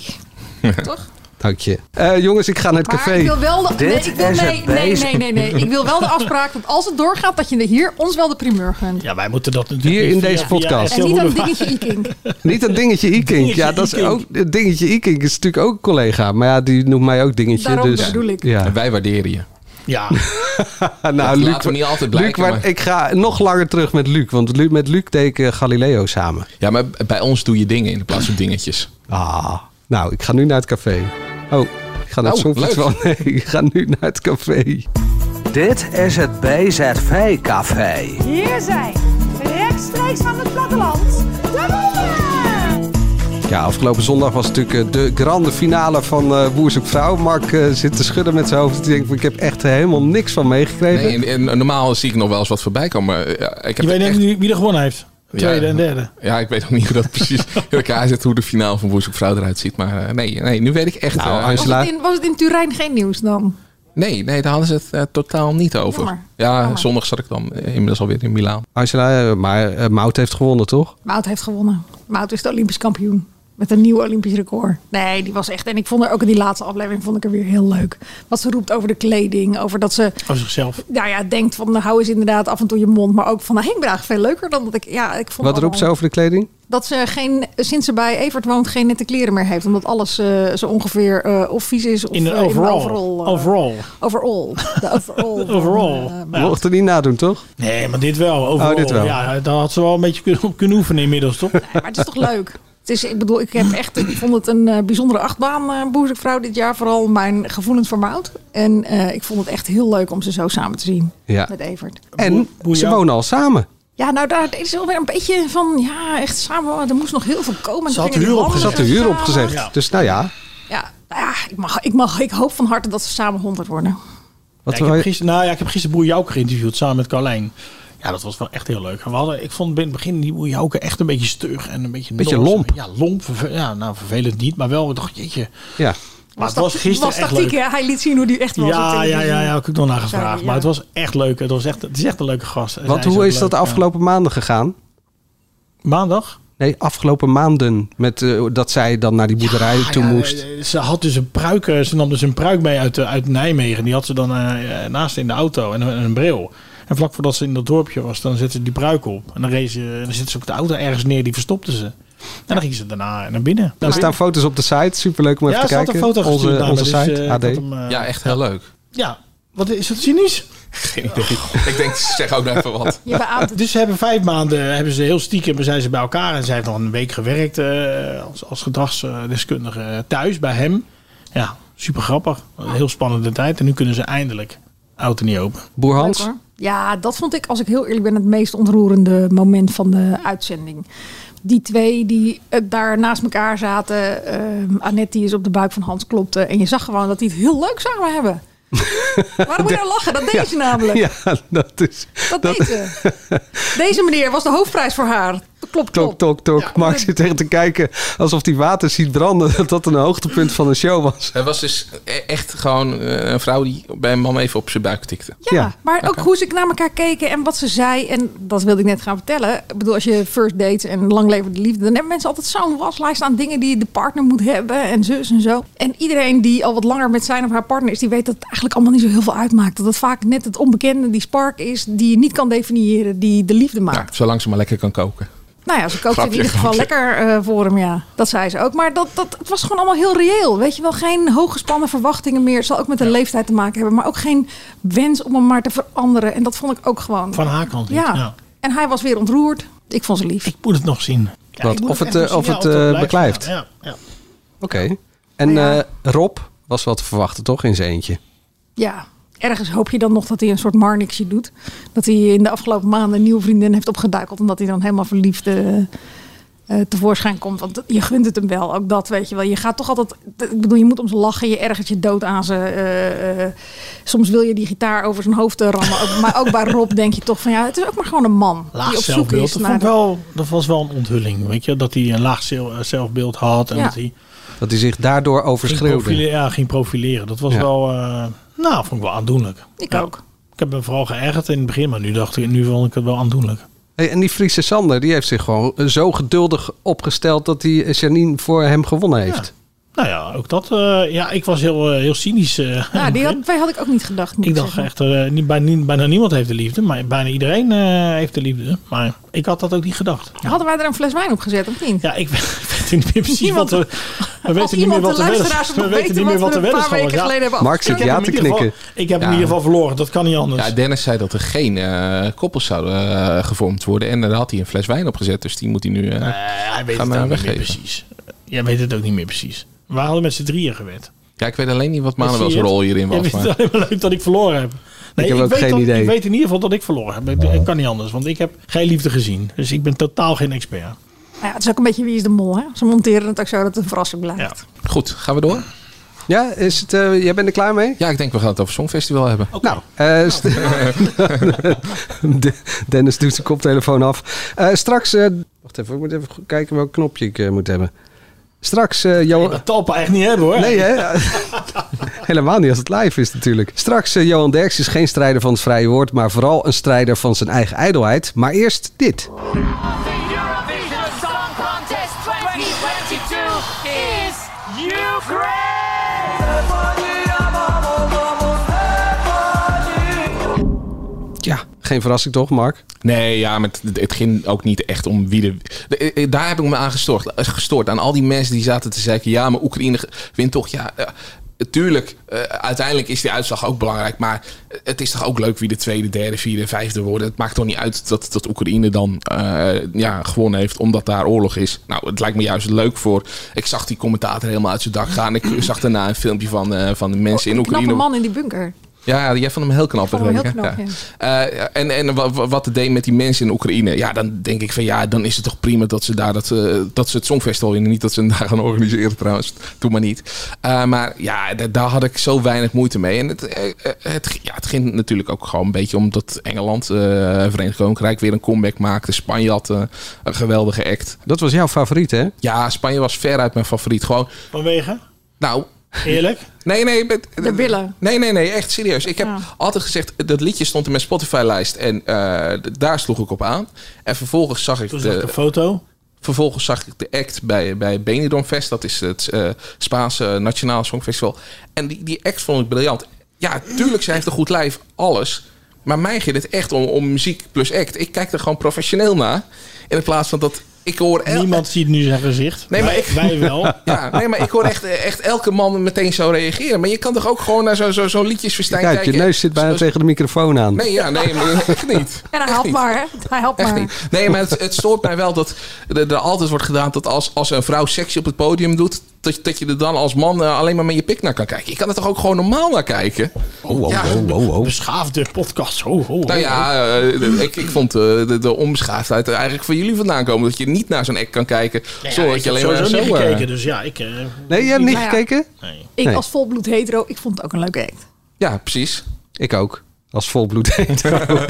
Speaker 3: Toch?
Speaker 7: Dank je. Eh, jongens, ik ga naar het
Speaker 3: Maar
Speaker 7: café.
Speaker 3: ik wil wel de, nee,
Speaker 4: Dit
Speaker 3: ik wil,
Speaker 4: is
Speaker 3: nee,
Speaker 4: het
Speaker 3: nee,
Speaker 4: bezig.
Speaker 3: nee, nee, nee. Ik wil wel de afspraak dat als het doorgaat, dat je er hier ons wel de primeur gunt.
Speaker 9: Ja, wij moeten dat natuurlijk.
Speaker 7: Hier
Speaker 9: weer
Speaker 7: in
Speaker 9: via-
Speaker 7: deze
Speaker 9: via
Speaker 7: podcast.
Speaker 9: RTL
Speaker 3: En niet dat
Speaker 9: Boulevard.
Speaker 3: dingetje Iking.
Speaker 7: Niet dat dingetje Ikink.
Speaker 9: Dingetje
Speaker 7: Ja, dat is
Speaker 9: Ikink.
Speaker 7: ook. het Dingetje Ikink is natuurlijk ook een collega. Maar ja, die noemt mij ook dingetje.
Speaker 3: Daarom,
Speaker 7: dus,
Speaker 3: dat bedoel ik.
Speaker 7: Ja.
Speaker 8: En wij waarderen je.
Speaker 9: Ja.
Speaker 7: Ah,
Speaker 8: Dat
Speaker 7: nou,
Speaker 8: laten
Speaker 7: Luc,
Speaker 8: we niet altijd
Speaker 7: Luc,
Speaker 8: blijken,
Speaker 7: maar
Speaker 8: maar-
Speaker 7: ik ga nog langer terug met Luc. Want Lu- met Luc deed ik eh, Galileo samen.
Speaker 8: Ja, maar bij ons doe je dingen in de plaats van dingetjes.
Speaker 7: Ah, nou, ik ga nu naar het café. Oh, ik ga naar het
Speaker 8: Oh,
Speaker 7: Songfestival. Nee, ik ga nu naar het café.
Speaker 12: Dit is het BZV Café.
Speaker 13: Hier zijn, rechtstreeks van het platteland, de mannen!
Speaker 7: Ja, afgelopen zondag was natuurlijk eh, de grande finale van eh Boer zoekt Vrouw. Mark eh, zit te schudden met zijn hoofd. Ik denk, ik heb echt helemaal niks van meegekregen.
Speaker 8: Nee, en, en normaal zie ik nog wel eens wat voorbij komen. eh, Ja, ik
Speaker 9: Je
Speaker 8: heb
Speaker 9: weet
Speaker 8: echt-
Speaker 9: niet wie- wie er gewonnen heeft. Tweede
Speaker 8: Ja.
Speaker 9: en derde.
Speaker 8: Ja, ik weet ook niet hoe dat precies in elkaar zit, hoe de finale van Boer zoekt Vrouw eruit ziet. Maar eh, nee, nee, nu weet ik echt.
Speaker 7: Nou,
Speaker 8: eh,
Speaker 3: Was het, in, was het in Turijn geen nieuws dan?
Speaker 8: Nee, nee, daar hadden ze het eh, totaal niet over.
Speaker 3: Jammer.
Speaker 8: Ja, zondag zat ik dan eh, inmiddels alweer in Milaan.
Speaker 7: Angela, eh, maar eh, Mout heeft gewonnen, toch?
Speaker 3: Mout heeft gewonnen. Mout is de Olympisch kampioen. Met een nieuw Olympisch record. Nee, die was echt. En ik vond haar ook in die laatste aflevering vond ik haar weer heel leuk. Wat ze roept over de kleding. Over dat ze
Speaker 9: Over zichzelf.
Speaker 3: nou ja, denkt van nou, hou eens inderdaad af en toe je mond. Maar ook van nou, ik ben eigenlijk veel leuker dan dat ik. Ja, ik vond
Speaker 7: Wat roept ze
Speaker 3: allemaal-
Speaker 7: over de kleding?
Speaker 3: Dat ze geen, sinds ze bij Evert woont geen nette kleren meer heeft. Omdat alles eh, zo ongeveer eh, of vies is of
Speaker 9: In een
Speaker 3: eh,
Speaker 9: overall.
Speaker 3: overall. eh,
Speaker 9: Overall.
Speaker 3: overall. De overall. van,
Speaker 9: Overall.
Speaker 3: eh,
Speaker 7: Mocht Mocht er niet nadoen, toch?
Speaker 9: Nee, maar dit wel. Overal.
Speaker 7: Oh, dit wel.
Speaker 9: Ja, daar had ze wel een beetje kun- op kunnen oefenen inmiddels, toch?
Speaker 3: Maar het is toch leuk? Het is, ik bedoel, ik, heb echt, ik vond het een eh, bijzondere achtbaan, eh boezekvrouw, dit jaar. Vooral mijn gevoelens voor Mout. En eh, ik vond het echt heel leuk om ze zo samen te zien
Speaker 7: Ja.
Speaker 3: met Evert.
Speaker 7: En ze wonen al samen.
Speaker 3: Ja, nou daar is wel weer een beetje van, ja, echt samen, er moest nog heel veel komen.
Speaker 7: Ze
Speaker 3: Toen gingen
Speaker 9: Oh,
Speaker 3: die
Speaker 7: Ze had de
Speaker 3: wandelen
Speaker 7: huur
Speaker 3: samen.
Speaker 7: opgezegd. Dus nou ja.
Speaker 3: Ja, nou ja ik, mag, ik, mag, ik hoop van harte dat ze samen honderd worden.
Speaker 9: Ja, ik heb gisteren, nou ja, ik heb gisteren Boer Jouke geïnterviewd samen met Carlijn. Ja, dat was wel echt heel leuk. We hadden, ik vond in het begin die Boer Jouke echt een beetje stug en een beetje...
Speaker 7: Beetje
Speaker 9: nors.
Speaker 7: lomp.
Speaker 9: Ja, lomp. verve- Ja, nou vervelend niet, maar wel, ik dacht, jeetje.
Speaker 7: Ja.
Speaker 9: Maar het was gisteren
Speaker 3: was
Speaker 9: echt
Speaker 3: tactiek,
Speaker 9: leuk.
Speaker 3: hè? Hij liet zien hoe die echt was. op
Speaker 9: Ja, ja,
Speaker 3: televisie.
Speaker 9: ja, ja, heb ik nog naar
Speaker 3: Sorry,
Speaker 9: gevraagd.
Speaker 3: ja.
Speaker 9: Maar het was echt leuk. Het, was echt, het is echt een leuke gast. En
Speaker 7: Want
Speaker 9: hij
Speaker 7: hoe
Speaker 9: ook
Speaker 7: is dat
Speaker 9: leuk, ja.
Speaker 7: afgelopen maanden gegaan?
Speaker 9: Maandag?
Speaker 7: Nee, afgelopen maanden. Met, eh, dat zij dan naar die boerderij toe
Speaker 9: Ja,
Speaker 7: moest.
Speaker 9: eh, Ze had dus een pruik, eh, ze nam dus een pruik mee uit, eh, uit Nijmegen. Die had ze dan eh, eh, naast in de auto en een, en een bril. En vlak voordat ze in dat dorpje was, dan zette ze die pruik op. En dan, reed ze, en dan zette ze ook de auto ergens neer, die verstopte ze. En dan ging ze daarna eh, naar binnen.
Speaker 7: Er staan foto's op de site. Superleuk om
Speaker 9: Ja,
Speaker 7: even te
Speaker 9: er staat
Speaker 7: kijken.
Speaker 9: een foto gestuurd
Speaker 7: onze
Speaker 9: naar
Speaker 7: onze
Speaker 9: me, dus,
Speaker 7: site,
Speaker 9: eh, ik
Speaker 7: AD.
Speaker 9: had hem, eh,
Speaker 8: Ja, echt heel leuk.
Speaker 9: Ja, wat is dat cynisch?
Speaker 8: Geen idee. ik denk, zeg ook nog even wat.
Speaker 3: Je beaamt het.
Speaker 9: Dus ze hebben vijf maanden, hebben ze heel stiekem, zijn ze bij elkaar. En zij heeft nog een week gewerkt eh, als, als gedragsdeskundige eh, thuis bij hem. Ja, super grappig. Een heel spannende tijd. En nu kunnen ze eindelijk oud en niet open.
Speaker 7: Boer
Speaker 3: Leuk, hoor. Ja, dat vond ik, als ik heel eerlijk ben, het meest ontroerende moment van de uitzending. Die twee die eh, daar naast elkaar zaten. ehm Annette die is op de buik van Hans klopte. En je zag gewoon dat die het heel leuk samen hebben. Waarom moet je nou lachen? Dat deed ze namelijk.
Speaker 7: Ja, dat is...
Speaker 3: Dat, deed ze. Deze meneer was de hoofdprijs voor haar. Klopt,
Speaker 7: Tok,
Speaker 3: klopt.
Speaker 7: tok, tok. Mark zit echt te kijken alsof hij water ziet branden. Dat dat een hoogtepunt van een show was.
Speaker 8: Het was dus e- echt gewoon eh, een vrouw die bij een man even op zijn buik tikte.
Speaker 3: Ja, maar ook hoe ze naar elkaar keken en wat ze zei. En dat wilde ik net gaan vertellen. Ik bedoel, als je first date en lang leven de liefde... dan hebben mensen altijd zo'n waslijst aan dingen die de partner moet hebben. En zus en zo. En iedereen die al wat langer met zijn of haar partner is... die weet dat het eigenlijk allemaal niet zo heel veel uitmaakt. Dat het vaak net het onbekende, die spark is... die je niet kan definiëren, die de liefde maakt.
Speaker 8: Zolang ze maar lekker kan koken.
Speaker 3: Nou ja, ze kookte in
Speaker 8: Grapje,
Speaker 3: ieder geval
Speaker 8: grapje.
Speaker 3: lekker eh, voor hem, ja. Dat zei ze ook. Maar dat, dat, het was gewoon allemaal heel reëel. Weet je wel, geen hooggespannen verwachtingen meer. Het zal ook met de leeftijd te maken hebben. Maar ook geen wens om hem maar te veranderen. En dat vond ik ook gewoon...
Speaker 9: Van haar kant niet,
Speaker 3: Ja.
Speaker 9: ja.
Speaker 3: En hij was weer ontroerd. Ik vond ze lief. Ik
Speaker 9: moet het nog zien. Ja,
Speaker 7: Wat?
Speaker 9: ik moet
Speaker 7: Of
Speaker 9: echt
Speaker 7: het,
Speaker 9: nog
Speaker 7: eh, of
Speaker 9: zien.
Speaker 7: het,
Speaker 9: Ja,
Speaker 7: eh,
Speaker 9: blijft.
Speaker 7: beklijft?
Speaker 9: Ja, ja.
Speaker 7: Oké. En eh, Rob was wel te verwachten, toch? In zijn eentje.
Speaker 3: Ja. Ergens hoop je dan nog dat hij een soort marnixje doet. Dat hij in de afgelopen maanden een nieuwe vriendin heeft opgeduikeld. En dat hij dan helemaal verliefd eh, eh, tevoorschijn komt. Want je gunt het hem wel. Ook dat weet je wel. Je gaat toch altijd... Ik bedoel, je moet om ze lachen. Je ergert je dood aan ze. eh, eh, soms wil je die gitaar over zijn hoofd eh, rammen. Ook- maar ook bij Rob denk je toch van... Ja, het is ook maar gewoon een man.
Speaker 9: Laag
Speaker 3: die op zoek
Speaker 9: zelfbeeld.
Speaker 3: is
Speaker 9: Dat,
Speaker 3: naar...
Speaker 9: vond ik wel, dat was wel een onthulling. Weet je? Dat hij een laag zel- eh, zelfbeeld had. En
Speaker 3: Ja.
Speaker 9: dat hij
Speaker 7: Dat hij zich daardoor
Speaker 9: ging
Speaker 7: overschreeuwde.
Speaker 9: profileren, ja, ging profileren. Dat was
Speaker 7: Ja.
Speaker 9: wel... eh, nou, vond ik wel aandoenlijk.
Speaker 3: Ik ook.
Speaker 9: Ik heb me vooral geërgerd in het begin. Maar nu dacht ik, nu vond ik het wel aandoenlijk.
Speaker 7: Hey, en die Friese Sander, die heeft zich gewoon eh, zo geduldig opgesteld... dat hij eh, Janine voor hem gewonnen heeft.
Speaker 9: Nou ja, ook dat. eh, ja, ik was heel, eh, heel cynisch. eh,
Speaker 3: Ja, Nou, die had, twee had ik ook niet gedacht. moet
Speaker 9: ik dacht
Speaker 3: zeggen.
Speaker 9: echt, eh, niet, bijna, bijna niemand heeft de liefde. Maar bijna iedereen eh, heeft de liefde. Maar ik had dat ook niet gedacht.
Speaker 3: Hadden wij er een fles wijn op gezet of niet?
Speaker 9: Ja, ik weet niet meer precies
Speaker 3: Niemand-
Speaker 9: wat we... We weten niet meer wat
Speaker 3: iemand de
Speaker 9: de
Speaker 3: luisteraars
Speaker 9: weddenschap
Speaker 3: nog
Speaker 9: We weten
Speaker 3: weten
Speaker 9: niet meer wat
Speaker 3: wat
Speaker 9: de
Speaker 3: we een paar
Speaker 9: weddenschap
Speaker 3: weken
Speaker 9: was.
Speaker 3: geleden hebben
Speaker 7: Mark zit
Speaker 9: Ik heb
Speaker 7: ja
Speaker 9: hem
Speaker 7: te
Speaker 9: in ieder geval-
Speaker 7: knikken.
Speaker 9: Ik heb hem
Speaker 8: Ja.
Speaker 9: in ieder geval verloren. Dat kan niet anders.
Speaker 8: Ja, Dennis zei dat er geen eh, koppels zouden eh, gevormd worden. En daar had hij een fles wijn op gezet. Dus die moet hij nu eh,
Speaker 9: hij weet
Speaker 8: gaan
Speaker 9: het
Speaker 8: eh,
Speaker 9: ook niet meer
Speaker 8: weggeven.
Speaker 9: precies. Jij weet het ook niet meer precies. We hadden met z'n drieën gewend.
Speaker 8: Ja, ik weet alleen niet wat
Speaker 9: Zie je
Speaker 8: Manuel's
Speaker 9: het?
Speaker 8: rol hierin
Speaker 9: Jij
Speaker 8: was.
Speaker 9: vindt
Speaker 8: Maar...
Speaker 9: het alleen maar leuk dat ik verloren heb. Nee,
Speaker 7: ik heb ook
Speaker 9: weet
Speaker 7: geen
Speaker 9: dat-
Speaker 7: idee.
Speaker 9: Ik weet in ieder geval dat ik verloren heb. Ik, ik kan niet anders, want ik heb geen liefde gezien. Dus ik ben totaal geen expert.
Speaker 3: Nou Ja, het is ook een beetje wie is de mol. Hè? Ze monteren het ook zo dat het een verrassing blijft.
Speaker 8: Goed, gaan we door?
Speaker 7: Ja, is het, eh, jij bent er klaar mee?
Speaker 8: Ja, ik denk we gaan het over Songfestival hebben.
Speaker 7: Nou, eh, st- De- Dennis doet zijn koptelefoon af. Eh, straks, eh, wacht even, ik moet even goed kijken welk knopje ik eh, moet hebben. Straks, eh Johan...
Speaker 9: Dat talpa echt niet hebben hoor.
Speaker 7: Nee, hè? Helemaal niet als het live is natuurlijk. Straks, eh, Johan Derks is geen strijder van het vrije woord, maar vooral een strijder van zijn eigen ijdelheid. Maar eerst dit.
Speaker 5: Eurovision Song Contest 2022 is Ukraine!
Speaker 7: Ja, geen verrassing toch, Mark?
Speaker 8: Nee, ja, maar het, het ging ook niet echt om wie de... de- eh, Daar heb ik me aan gestoord. eh, gestoord. Aan al die mensen die zaten te zeggen... Ja, maar Oekraïne ge- wint toch. Ja, eh, tuurlijk. eh, uiteindelijk is die uitslag ook belangrijk. Maar eh, het is toch ook leuk wie de tweede, derde, vierde, vijfde worden. Het maakt toch niet uit dat, dat Oekraïne dan eh, ja, gewonnen heeft... omdat daar oorlog is. Nou, het lijkt me juist leuk voor... Ik zag die commentator helemaal uit zijn dak gaan. Ik zag daarna een filmpje van, eh, van de mensen in Oekraïne.
Speaker 3: Oh, Knappe man in die bunker.
Speaker 8: Ja, jij vond hem heel knap.
Speaker 3: Ik vond hem
Speaker 8: begreep
Speaker 3: heel
Speaker 8: ik, hè? Ja. Eh, en en wa- wa- wat het deed met die mensen in Oekraïne. Ja, dan denk ik van ja, dan is het toch prima dat ze daar dat, eh, dat ze het Songfestival winnen. Niet dat ze hem daar gaan organiseren trouwens. Doe maar niet. Eh, maar ja, d- daar had ik zo weinig moeite mee. En het, eh, eh, het, g- ja, het ging natuurlijk ook gewoon een beetje omdat Engeland, eh Verenigd Koninkrijk, weer een comeback maakte. Spanje had eh, een geweldige act.
Speaker 7: Dat was jouw favoriet, hè?
Speaker 8: Ja, Spanje was veruit mijn favoriet. Gewoon,
Speaker 9: Vanwege?
Speaker 8: nou...
Speaker 9: Eerlijk?
Speaker 8: Nee, nee. met-
Speaker 3: De billen.
Speaker 8: Nee, nee, nee, echt serieus. Ik heb
Speaker 3: Ja.
Speaker 8: altijd gezegd, dat liedje stond in mijn Spotify-lijst en eh, d- daar sloeg ik op aan. En vervolgens zag ik
Speaker 9: Toen zag ik een foto.
Speaker 8: Vervolgens zag ik de act bij, bij Benidorm Fest. Dat is het eh, Spaanse Nationaal Songfestival. En die, die act vond ik briljant. Ja, tuurlijk, ze heeft een goed lijf, alles. Maar mij ging het echt om, om muziek plus act. Ik kijk er gewoon professioneel naar. In plaats van dat ik hoor... el-
Speaker 9: Niemand ziet nu zijn gezicht.
Speaker 8: Nee, maar
Speaker 9: Wij-
Speaker 8: ik,
Speaker 9: wij wel.
Speaker 8: Ja, nee, maar ik hoor echt, echt elke man meteen zo reageren. Maar je kan toch ook gewoon naar zo'n zo, zo liedjesfestijn
Speaker 7: Kijk, je
Speaker 8: kijken.
Speaker 7: neus zit bijna tegen de microfoon aan.
Speaker 8: eh, Nee, ja, nee, maar echt niet.
Speaker 3: En hij helpt maar, hè? Hij helpt
Speaker 8: Echt
Speaker 3: maar.
Speaker 8: niet. Nee, maar het, het stoort mij wel dat er, er altijd wordt gedaan dat als, als een vrouw sexy op het podium doet, dat, je- dat je er dan als man eh, alleen maar met je pik naar kan kijken. Je kan er toch ook gewoon normaal naar kijken?
Speaker 9: Oh, oh, oh, oh, Beschaafde podcast. Oh, oh, oh.
Speaker 8: Nou ja, eh, ik, ik vond eh, de, de onbeschaafdheid er eigenlijk van jullie vandaan komen. Dat je niet naar zo'n act kan kijken.
Speaker 9: Nou ja,
Speaker 8: zo dat
Speaker 9: ik
Speaker 8: je
Speaker 9: heb
Speaker 8: alleen maar zo...
Speaker 9: sowieso niet
Speaker 8: eh,
Speaker 9: gekeken, dus ja, ik... eh,
Speaker 7: Nee, jij hebt niet gekeken?
Speaker 9: Nee.
Speaker 3: Ik
Speaker 7: Nee.
Speaker 3: als volbloed hetero, ik vond het ook een leuke act.
Speaker 9: dus-
Speaker 8: Ja, precies.
Speaker 7: Ik ook. Als volbloed hetero.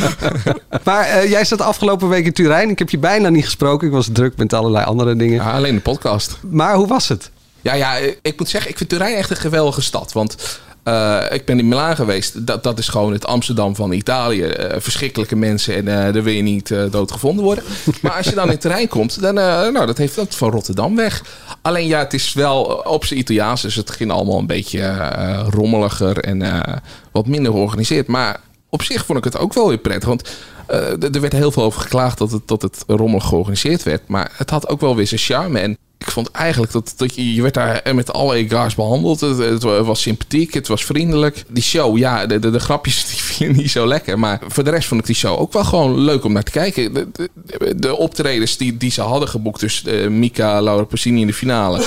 Speaker 7: maar eh, jij zat afgelopen week in Turijn. Ik heb je bijna niet gesproken. Ik was druk met allerlei andere dingen.
Speaker 8: alleen de podcast.
Speaker 7: Maar hoe was het?
Speaker 8: Ja, ja, eh, ik moet zeggen, ik vind Turijn echt een geweldige stad. Want eh, ik ben in Milaan geweest. Dat, dat is gewoon het Amsterdam van Italië. Eh, verschrikkelijke mensen en eh, daar wil je niet eh, doodgevonden worden. Maar als je dan in Turijn komt, dan, eh, nou, dat heeft dat van Rotterdam weg. Alleen ja, het is wel op zijn Italiaans. Dus het ging allemaal een beetje eh, rommeliger en eh, wat minder georganiseerd. Maar op zich vond ik het ook wel weer prettig. Want eh, d- er werd heel veel over geklaagd dat het, dat het rommelig georganiseerd werd. Maar het had ook wel weer zijn charme. En ik vond eigenlijk dat, dat je, je werd daar met alle egards behandeld. Het, het was sympathiek, het was vriendelijk. Die show, ja, de, de, de grapjes die vielen niet zo lekker. Maar voor de rest vond ik die show ook wel gewoon leuk om naar te kijken. De, de, de optredens die, die ze hadden geboekt. Dus eh, Mika, Laura Pausini in de finale.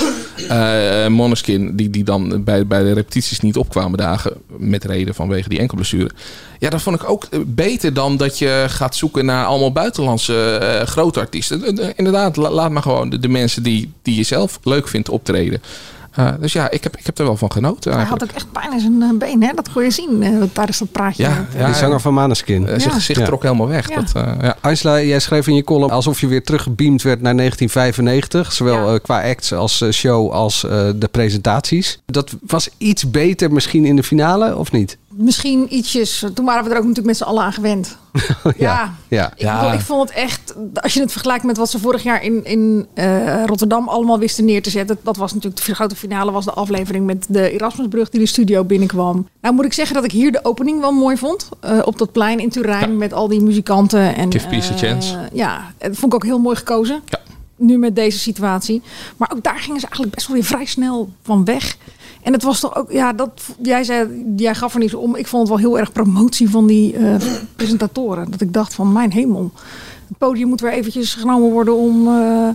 Speaker 8: eh Moneskin, die, die dan bij, bij de repetities niet opkwamen dagen. Met reden vanwege die enkelblessure. Ja, dat vond ik ook eh, beter dan dat je gaat zoeken naar allemaal buitenlandse eh grote artiesten. Eh, eh, Inderdaad, la- laat maar gewoon de, de mensen die, die je zelf leuk vindt optreden. Eh, dus ja, ik heb, ik heb er wel van genoten
Speaker 3: Hij
Speaker 8: eigenlijk.
Speaker 3: had ook echt pijn in zijn eh, been, hè? Dat kon je zien eh, tijdens dat praatje.
Speaker 7: die zanger van Maneskin.
Speaker 8: Eh, zijn gezicht trok helemaal weg.
Speaker 3: Ja.
Speaker 8: Dat, eh, ja.
Speaker 7: Angela, jij schreef in je column alsof je weer teruggebeamd werd naar 1995. Zowel eh, qua acts als eh, show als eh, de presentaties. Dat was iets beter misschien in de finale, of niet?
Speaker 3: Misschien ietsjes. Toen waren we er ook natuurlijk met z'n allen aan gewend. ja.
Speaker 7: Ja.
Speaker 3: Ik, bedoel, ik vond het echt, als je het vergelijkt met wat ze vorig jaar in, in eh, Rotterdam allemaal wisten neer te zetten. Dat was natuurlijk de grote finale, was de aflevering met de Erasmusbrug die de studio binnenkwam. Nou moet ik zeggen dat ik hier de opening wel mooi vond. eh, op dat plein in Turijn met al die muzikanten. En,
Speaker 8: Give peace a
Speaker 3: eh,
Speaker 8: chance.
Speaker 3: Ja, dat vond ik ook heel mooi gekozen. Nu met deze situatie. Maar ook daar gingen ze eigenlijk best wel weer vrij snel van weg. En het was toch ook, ja, dat, jij, zei, jij gaf er niet zo om. Ik vond het wel heel erg promotie van die eh, presentatoren. Dat ik dacht van, mijn hemel. Het podium moet weer eventjes genomen worden om eh,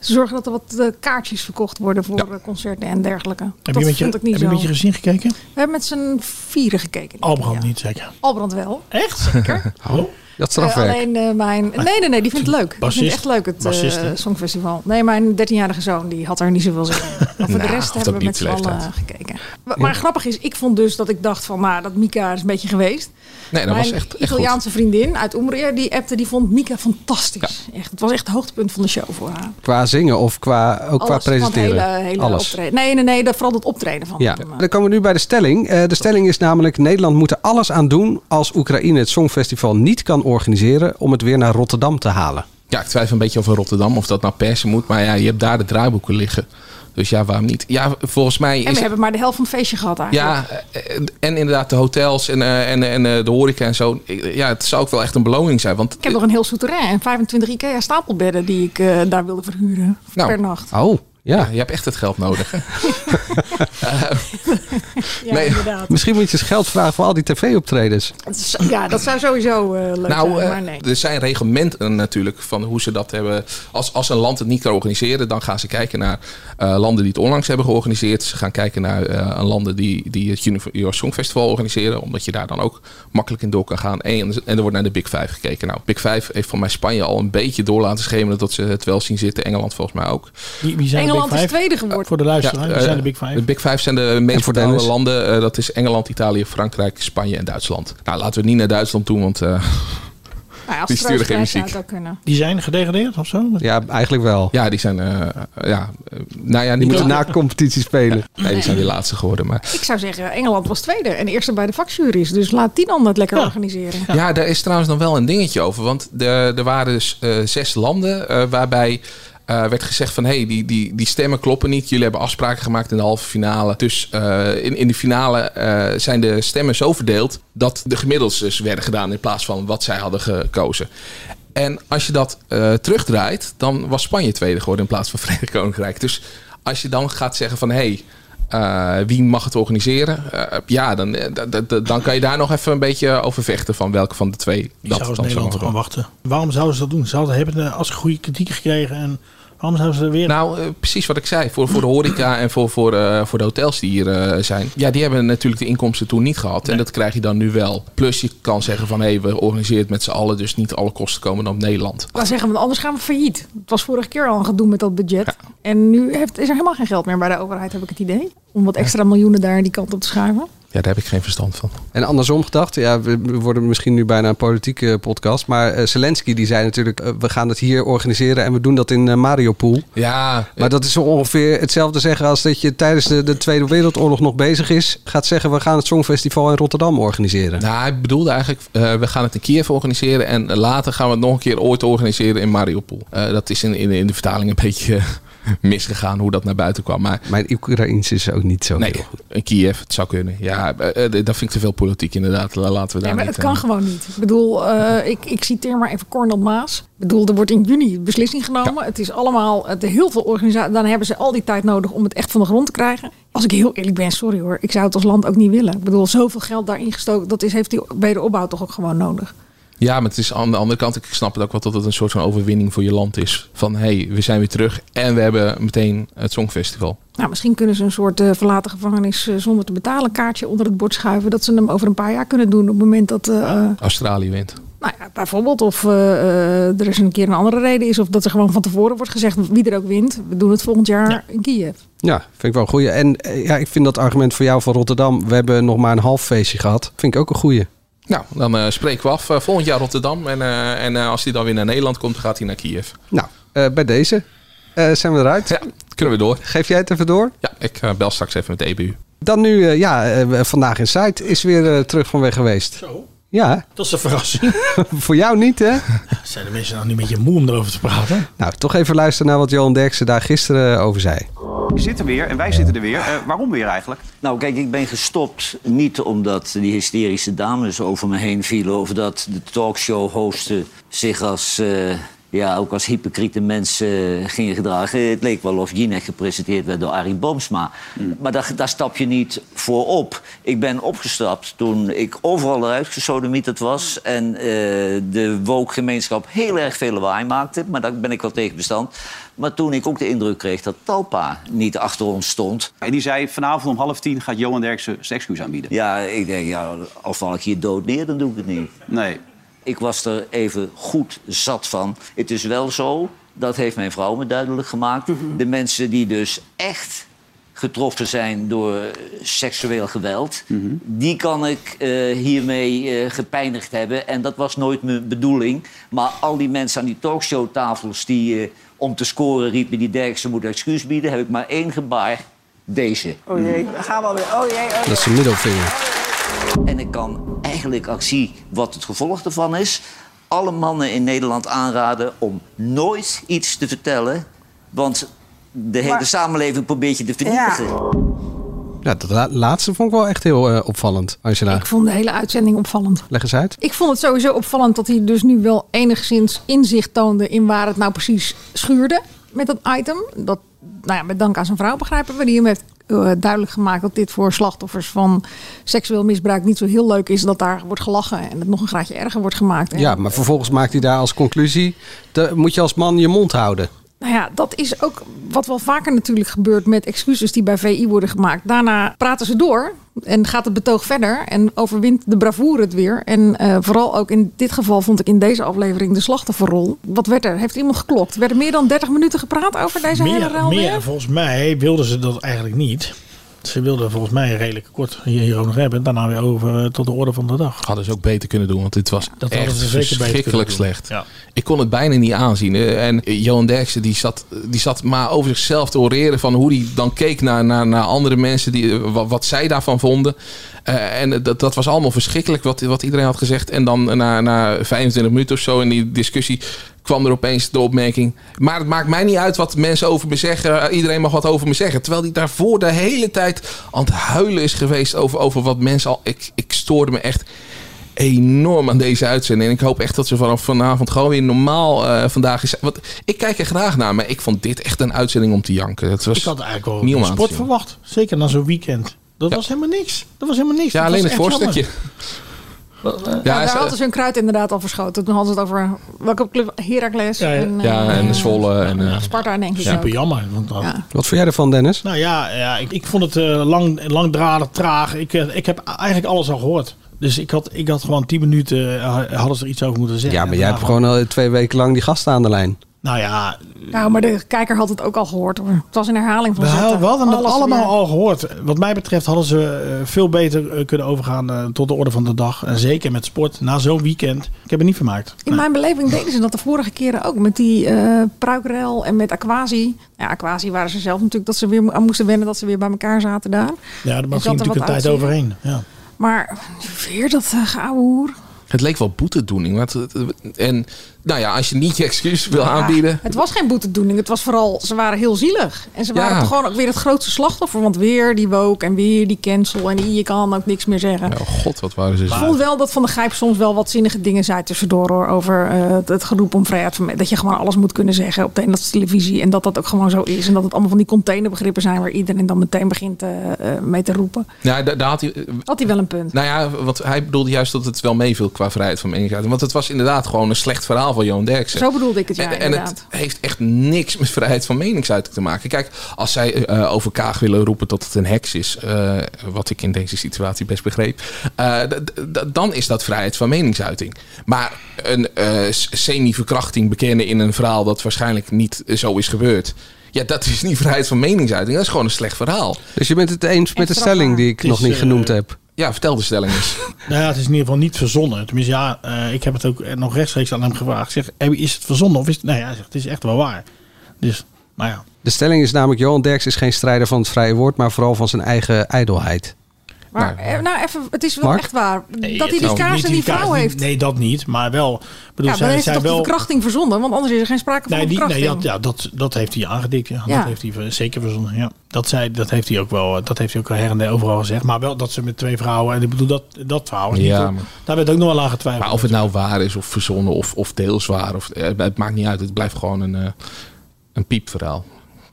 Speaker 3: Ze zorgen dat er wat eh, kaartjes verkocht worden voor eh, concerten en dergelijke.
Speaker 9: Heb
Speaker 3: dat
Speaker 9: je met je,
Speaker 3: vond ik niet
Speaker 9: heb
Speaker 3: zo.
Speaker 9: je met je gezin gekeken?
Speaker 3: We hebben met z'n vieren gekeken.
Speaker 9: Albrand niet zeker. Oh.
Speaker 3: Albrand wel. Echt?
Speaker 9: Hallo?
Speaker 7: Dat
Speaker 3: Eh, alleen eh, mijn.
Speaker 8: Ah.
Speaker 3: Nee, nee, nee, die vindt het leuk. Die vindt
Speaker 9: Bassist?
Speaker 3: het echt leuk, het eh,
Speaker 9: Bassist, hè?
Speaker 3: Songfestival. Nee, mijn 13-jarige zoon die had er niet zoveel zin in. Maar voor
Speaker 8: Nou,
Speaker 3: de rest
Speaker 8: of
Speaker 3: hebben
Speaker 8: dat
Speaker 3: we met z'n
Speaker 8: niet
Speaker 3: allen
Speaker 8: leeftijd.
Speaker 3: gekeken. Maar, maar grappig is, ik vond dus dat ik dacht van, nou, dat Mika is een beetje geweest.
Speaker 8: Nee, dat
Speaker 3: mijn
Speaker 8: was echt- echt
Speaker 3: Italiaanse vriendin uit Umbrië, die appte, die vond Mika fantastisch. Echt, het was echt het hoogtepunt van de show voor haar.
Speaker 7: Qua zingen of qua, ook qua
Speaker 3: Alles, want
Speaker 7: presenteren?
Speaker 3: Hele, hele
Speaker 7: Alles.
Speaker 3: optreden. Nee, nee, nee, dat, vooral dat optreden van
Speaker 7: Ja,
Speaker 3: hem. eh.
Speaker 7: dan komen we nu bij de stelling. Eh, de stelling is namelijk: Nederland moet er alles aan doen als Oekraïne het Songfestival niet kan organiseren om het weer naar Rotterdam te halen.
Speaker 8: Ja, ik twijfel een beetje over Rotterdam of dat nou persen moet. Maar ja, je hebt daar de draaiboeken liggen. Dus ja, waarom niet? Ja, volgens mij
Speaker 3: En
Speaker 8: is
Speaker 3: we hebben maar de helft van het feestje gehad eigenlijk.
Speaker 8: Ja, eh, en inderdaad de hotels en, eh, en, en eh, de horeca en zo. Ik- Ja, het zou ook wel echt een beloning zijn. Want
Speaker 3: Ik heb nog een heel souterrain en 25 IKEA stapelbedden die ik eh, daar wilde verhuren
Speaker 8: Nou.
Speaker 3: per nacht.
Speaker 7: Oh, ja.
Speaker 8: Je hebt echt het geld nodig. Eh,
Speaker 3: Ja,
Speaker 8: nee.
Speaker 3: inderdaad.
Speaker 7: Misschien moet je eens geld vragen voor al die tv-optredens.
Speaker 3: Het is- Ja, dat zou sowieso eh, leuk
Speaker 8: nou,
Speaker 3: zijn,
Speaker 8: eh,
Speaker 3: maar nee.
Speaker 8: er zijn reglementen natuurlijk van hoe ze dat hebben. Als, als een land het niet kan organiseren, dan gaan ze kijken naar eh, landen die het onlangs hebben georganiseerd. Ze gaan kijken naar eh, landen die, die het Junior Songfestival organiseren, omdat je daar dan ook makkelijk in door kan gaan. En, en er wordt naar de Big Five gekeken. Nou, Big Five heeft van mij Spanje al een beetje door laten schemeren dat ze het wel zien zitten. Engeland volgens mij ook.
Speaker 9: Wie, wie zijn
Speaker 3: Engeland
Speaker 9: de
Speaker 3: is
Speaker 9: Big Five?
Speaker 3: tweede geworden.
Speaker 9: Voor de luisteraar, wie
Speaker 8: eh,
Speaker 9: zijn de Big Five?
Speaker 8: De Big Five zijn de meest
Speaker 7: voor
Speaker 8: betaalde
Speaker 7: Dennis?
Speaker 8: landen. Eh, dat is Engeland, Italië, Frankrijk, Spanje en Duitsland. Nou, laten we niet naar Duitsland toe, want eh,
Speaker 3: Nou, ja, als
Speaker 8: die sturen geen
Speaker 3: troostprijs zou
Speaker 8: muziek.
Speaker 3: het ook kunnen.
Speaker 9: Die zijn gedegradeerd of zo?
Speaker 7: Ja, eigenlijk wel.
Speaker 8: Ja, die zijn. eh, ja, eh, nou ja,
Speaker 7: Die
Speaker 8: niet
Speaker 7: moeten
Speaker 8: na-
Speaker 7: na competitie spelen.
Speaker 8: Nee, die zijn weer laatste geworden. Maar.
Speaker 3: Ik zou zeggen, Engeland was tweede en eerste bij de vakjuries. Dus laat die dan dat lekker organiseren.
Speaker 8: Ja. daar is trouwens nog wel een dingetje over. Want de, er waren dus eh, zes landen eh, waarbij. eh, werd gezegd van, hé, hey, die, die, die stemmen kloppen niet. Jullie hebben afspraken gemaakt in de halve finale. Dus eh, in, in de finale eh, zijn de stemmen zo verdeeld... dat de gemiddelds dus werden gedaan in plaats van wat zij hadden gekozen. En als je dat eh, terugdraait, dan was Spanje tweede geworden in plaats van Verenigd Koninkrijk. Dus als je dan gaat zeggen van, hé, hey, eh, wie mag het organiseren? Eh, ja, dan, eh, d- d- d- dan kan je daar nog even een beetje over vechten van welke van de twee
Speaker 9: Ik zou als
Speaker 8: dan
Speaker 9: Nederland
Speaker 8: mag
Speaker 9: erop
Speaker 8: worden.
Speaker 9: wachten. Waarom zouden ze dat doen? Ze hadden, hebben eh, als ze goede kritiek gekregen en waarom zouden ze er weer...
Speaker 8: Nou, eh, precies wat ik zei. Voor, voor de horeca en voor, voor, eh, voor de hotels die hier eh, zijn. Ja, die hebben natuurlijk de inkomsten toen niet gehad. En dat krijg je dan nu wel. Plus je kan zeggen van, hé, hey, we organiseren het met z'n allen. Dus niet alle kosten komen dan op Nederland.
Speaker 3: Dan zeggen we, anders gaan we failliet. Het was vorige keer al een gedoe met dat budget. En nu heeft, is er helemaal geen geld meer bij de overheid, heb ik het idee. Om wat extra miljoenen daar die kant op te schuiven.
Speaker 8: Ja, daar heb ik geen verstand van.
Speaker 7: En andersom gedacht, ja, we we worden misschien nu bijna een politieke podcast. Maar eh, Zelensky die zei natuurlijk, eh, we gaan het hier organiseren en we doen dat in eh, Mariupol.
Speaker 8: Ja,
Speaker 7: Maar dat is zo ongeveer hetzelfde zeggen als dat je tijdens de, de Tweede Wereldoorlog nog bezig is. Gaat zeggen, we gaan het Songfestival in Rotterdam organiseren.
Speaker 8: Nou, hij bedoelde eigenlijk, eh, we gaan het in Kiev organiseren en later gaan we het nog een keer ooit organiseren in Mariupol. Eh, dat is in, in, in de vertaling een beetje eh, misgegaan hoe dat naar buiten kwam. Maar
Speaker 7: Mijn Oekraïens is ook niet zo
Speaker 8: nee,
Speaker 7: heel goed.
Speaker 8: in Kiev, het zou kunnen. Ja, eh, eh, dat vind ik te veel politiek inderdaad. La- Laten we daar
Speaker 3: Nee, maar
Speaker 8: niet,
Speaker 3: het kan
Speaker 8: eh,
Speaker 3: gewoon niet. Ik bedoel, eh, ik, ik citeer maar even Cornel Maas. Ik bedoel, er wordt in juni beslissing genomen. Het is allemaal, het, heel veel organisaties. Dan hebben ze al die tijd nodig om het echt van de grond te krijgen. Als ik heel eerlijk ben, sorry hoor. Ik zou het als land ook niet willen. Ik bedoel, zoveel geld daarin gestoken. Dat is, heeft die wederopbouw toch ook gewoon nodig.
Speaker 8: Ja, maar het is aan de andere kant, ik snap het ook wel dat het een soort van overwinning voor je land is. Van hé, hey, we zijn weer terug en we hebben meteen het Songfestival.
Speaker 3: Nou, misschien kunnen ze een soort eh, verlaten gevangenis eh, zonder te betalen kaartje onder het bord schuiven. Dat ze hem over een paar jaar kunnen doen op het moment dat... eh, eh,
Speaker 8: Australië wint.
Speaker 3: Nou ja, bijvoorbeeld of eh, eh, er eens een keer een andere reden is. Of dat er gewoon van tevoren wordt gezegd wie er ook wint. We doen het volgend jaar in Kiev.
Speaker 7: Ja, vind ik wel een goeie. En eh, ja, ik vind dat argument voor jou van Rotterdam, we hebben nog maar een half feestje gehad. Vind ik ook een goeie.
Speaker 8: Nou, dan eh, spreken we af. Eh, volgend jaar Rotterdam. En, eh, en eh, als hij dan weer naar Nederland komt, dan gaat hij naar Kiev.
Speaker 7: Nou, eh, bij deze eh, zijn we eruit.
Speaker 8: Kunnen we door?
Speaker 7: Geef jij het even door?
Speaker 8: Ja, ik eh, bel straks even met de EBU.
Speaker 7: Dan nu, eh, ja, eh, Vandaag in Zuid is weer eh, terug van weg geweest. Zo? Ja.
Speaker 9: Dat is een verrassing.
Speaker 7: Voor jou niet, hè?
Speaker 9: Zijn de mensen nou niet een beetje moe om erover te praten?
Speaker 7: Nou, toch even luisteren naar wat Johan Derksen daar gisteren eh, over zei.
Speaker 10: Je zit er weer en wij zitten er weer. Eh, waarom weer eigenlijk?
Speaker 4: Nou, kijk, ik ben gestopt niet omdat die hysterische dames over me heen vielen... of dat de talkshow-hosten zich als, eh, ja, ook als hypocriete mensen eh, gingen gedragen. Het leek wel of Jinek gepresenteerd werd door Arie Boomsma. Maar daar, daar stap je niet voor op. Ik ben opgestapt toen ik overal eruit gesodemieterd was... en eh, de woke-gemeenschap heel erg veel lawaai maakte. Maar daar ben ik wel tegen bestand. Maar toen ik ook de indruk kreeg dat Talpa niet achter ons stond.
Speaker 10: En die zei, vanavond om half tien gaat Johan Derksen zijn excuus aanbieden.
Speaker 4: Ja, ik denk, ja, al val ik hier dood neer, dan doe ik het niet.
Speaker 10: Nee.
Speaker 4: Ik was er even goed zat van. Het is wel zo, dat heeft mijn vrouw me duidelijk gemaakt. De mensen die dus echt getroffen zijn door seksueel geweld... die kan ik eh, hiermee eh, gepeinigd hebben. En dat was nooit mijn bedoeling. Maar al die mensen aan die talkshowtafels die eh, om te scoren riepen... die Derksen moet excuus bieden, heb ik maar één gebaar. Deze.
Speaker 13: Oh jee, daar gaan we alweer. Oh jee, oh
Speaker 7: Dat is een middelvinger.
Speaker 4: En ik kan eigenlijk, als ik zie wat het gevolg ervan is, alle mannen in Nederland aanraden om nooit iets te vertellen. Want de hele
Speaker 13: Maar-
Speaker 4: samenleving probeert je te vernietigen.
Speaker 7: Ja, dat la- laatste vond ik wel echt heel eh, opvallend, Angela.
Speaker 3: Ik vond de hele uitzending opvallend.
Speaker 7: Leg eens uit.
Speaker 3: Ik vond het sowieso opvallend dat hij dus nu wel enigszins inzicht toonde in waar het nou precies schuurde met dat item. Dat, nou ja, met dank aan zijn vrouw begrijpen we. Die hem heeft eh, duidelijk gemaakt dat dit voor slachtoffers van seksueel misbruik niet zo heel leuk is. Dat daar wordt gelachen en het nog een graadje erger wordt gemaakt. En,
Speaker 7: Ja, maar vervolgens maakt hij daar als conclusie... de- moet je als man je mond houden.
Speaker 3: Nou ja, dat is ook wat wel vaker natuurlijk gebeurt met excuses die bij VI worden gemaakt. Daarna praten ze door en gaat het betoog verder en overwint de bravoure het weer. En eh, vooral ook in dit geval vond ik in deze aflevering de slachtofferrol. Wat werd er? Heeft iemand geklokt? Werd er meer dan 30 minuten gepraat over deze hele
Speaker 9: Meer,
Speaker 3: rel weer?
Speaker 9: meer, volgens mij wilden ze dat eigenlijk niet. Ze wilden volgens mij redelijk kort hier, hier ook nog hebben. Daarna weer over eh, tot de orde van de dag.
Speaker 8: Hadden ze ook beter kunnen doen, want dit was
Speaker 9: Dat hadden
Speaker 8: echt
Speaker 9: ze zeker beter
Speaker 8: verschrikkelijk
Speaker 9: kunnen doen.
Speaker 8: slecht. Ik kon het bijna niet aanzien. Eh, En Johan Derksen die zat, die zat maar over zichzelf te oreren van hoe hij dan keek naar, naar, naar andere mensen, die, eh, wat, wat zij daarvan vonden. Eh, en dat, dat was allemaal verschrikkelijk wat, wat iedereen had gezegd. En dan na, na 25 minuten of zo in die discussie kwam er opeens de opmerking. Maar het maakt mij niet uit wat mensen over me zeggen. Eh, Iedereen mag wat over me zeggen. Terwijl die daarvoor de hele tijd aan het huilen is geweest over, over wat mensen al... Ik, ik stoorde me echt enorm aan deze uitzending. En ik hoop echt dat ze vanaf vanavond gewoon weer normaal eh, vandaag is. Want ik kijk er graag naar, maar ik vond dit echt een uitzending om te janken. Het was
Speaker 9: Ik had eigenlijk wel
Speaker 8: niet om
Speaker 9: een
Speaker 8: aan te
Speaker 9: sport
Speaker 8: zien.
Speaker 9: verwacht. Zeker na zo'n weekend. Dat was helemaal niks. Dat was helemaal niks.
Speaker 8: Ja,
Speaker 9: Dat
Speaker 8: alleen
Speaker 9: was
Speaker 8: het
Speaker 9: echt
Speaker 8: voorstukje.
Speaker 9: jammer. Wat, eh,
Speaker 8: Ja,
Speaker 3: nou,
Speaker 8: is-
Speaker 3: daar hadden ze hun kruid inderdaad al verschoten. Toen hadden ze het over welke club Heracles en, eh,
Speaker 8: Ja, en Zwolle. En, eh,
Speaker 3: Sparta denk ik
Speaker 9: Super
Speaker 3: ook.
Speaker 9: jammer. Want dat,
Speaker 7: Wat vond jij ervan, Dennis?
Speaker 9: Nou ja, ja ik, ik vond het eh, lang, langdradig, traag. Ik, eh, ik heb eigenlijk alles al gehoord. Dus ik had, ik had gewoon 10 minuten, eh, hadden ze er iets over moeten zeggen.
Speaker 7: Ja, maar jij
Speaker 9: En
Speaker 7: hebt
Speaker 9: daarvan-
Speaker 7: gewoon al twee weken lang die gasten aan de lijn.
Speaker 9: Nou ja,
Speaker 3: Nou, maar de kijker had het ook al gehoord hoor. Het was een herhaling van
Speaker 9: we,
Speaker 3: zetten.
Speaker 9: hadden- we hadden
Speaker 3: Alles
Speaker 9: dat allemaal
Speaker 3: weer.
Speaker 9: al gehoord. Wat mij betreft hadden ze eh, veel beter eh, kunnen overgaan eh, tot de orde van de dag. En zeker met sport, na zo'n weekend. Ik heb het niet vermaakt.
Speaker 3: In mijn beleving deden ze dat de vorige keren ook. Met die eh pruikrel en met Aquasi. Nou Ja, Aquasi waren ze zelf natuurlijk dat ze weer mo- aan moesten wennen dat ze weer bij elkaar zaten daar.
Speaker 9: Ja,
Speaker 3: Ik
Speaker 9: daar
Speaker 3: had
Speaker 9: ging
Speaker 3: er wat
Speaker 9: natuurlijk een tijd
Speaker 3: uitzien.
Speaker 9: overheen. Ja.
Speaker 3: Maar weer dat eh geouwe hoer.
Speaker 8: Het leek wel boetedoening. want het- het- En nou ja, als je niet je excuus wil aanbieden.
Speaker 3: Ja, het was geen boetedoening. Het was vooral, ze waren heel zielig. En ze
Speaker 8: Ja.
Speaker 3: waren toch gewoon ook weer het grootste slachtoffer. Want weer die woke en weer die cancel. En die, je kan ook niks meer zeggen.
Speaker 8: Oh god, wat waren ze
Speaker 3: Ik
Speaker 8: zo.
Speaker 3: vond wel dat Van de Gijp soms wel wat zinnige dingen zei tussendoor hoor, over eh, het, het geroep om vrijheid van me- Dat je gewoon alles moet kunnen zeggen op de Nederlandse televisie. En dat dat ook gewoon zo is. En dat het allemaal van die containerbegrippen zijn waar iedereen dan meteen begint eh, eh, mee te roepen.
Speaker 8: Ja, daar, daar had hij.
Speaker 3: Had hij wel een punt.
Speaker 8: Nou ja, want hij bedoelde juist dat het wel meeviel qua vrijheid van meningsuiting. Want het was inderdaad gewoon een slecht verhaal van Johan Derksen.
Speaker 3: Zo bedoelde ik het, ja,
Speaker 8: En, en
Speaker 3: inderdaad.
Speaker 8: het heeft echt niks met vrijheid van meningsuiting te maken. Kijk, als zij eh, over Kaag willen roepen dat het een heks is, eh, wat ik in deze situatie best begreep, eh, d- d- d- dan is dat vrijheid van meningsuiting. Maar een eh, s- semi-verkrachting bekennen in een verhaal dat waarschijnlijk niet zo is gebeurd. Ja, dat is niet vrijheid van meningsuiting. Dat is gewoon een slecht verhaal.
Speaker 7: Dus je bent het eens met de
Speaker 8: strafbaar.
Speaker 7: stelling die ik
Speaker 8: Het
Speaker 7: nog
Speaker 8: is,
Speaker 7: niet
Speaker 8: eh,
Speaker 7: genoemd heb?
Speaker 8: Ja, vertel de stelling eens.
Speaker 9: Nou ja, het is in ieder geval niet verzonnen. Tenminste, ja, eh, ik heb het ook nog rechtstreeks aan hem gevraagd. Ik zeg, "Hey, is het verzonnen of is het... Nee, hij zegt, het is echt wel waar. Dus, nou ja.
Speaker 7: De stelling is namelijk... Johan Derks is geen strijder van het vrije woord... maar vooral van zijn eigen ijdelheid.
Speaker 3: Maar eh, nou even, het is wel
Speaker 7: Mark?
Speaker 3: echt waar. dat hij
Speaker 9: het
Speaker 3: die
Speaker 9: is
Speaker 3: kaars
Speaker 9: niet
Speaker 3: en die vrouw
Speaker 9: kaars,
Speaker 3: heeft.
Speaker 9: Nee, dat niet. Maar wel... Bedoel,
Speaker 3: ja, maar
Speaker 9: zij,
Speaker 3: dan heeft
Speaker 9: zij
Speaker 3: hij toch
Speaker 9: wel,
Speaker 3: de verkrachting verzonden. Want anders is er geen sprake van
Speaker 9: Nee, die, nee
Speaker 3: verkrachting.
Speaker 9: dat, ja, dat, dat heeft hij aangedikt. Ja.
Speaker 3: Ja.
Speaker 9: Dat heeft hij ver- zeker verzonnen. Ja. Dat, zei, dat heeft hij ook wel eh, dat heeft hij ook wel her en der overal gezegd. Maar wel dat ze met twee vrouwen... En ik bedoel, dat, dat verhaal is niet
Speaker 8: Ja,
Speaker 9: op-
Speaker 8: maar-
Speaker 9: Daar werd ook nog wel aan getwijfeld.
Speaker 8: Maar of het nou waar is of verzonnen of, of deels waar. Of, eh, het maakt niet uit. Het blijft gewoon een, eh, een piepverhaal.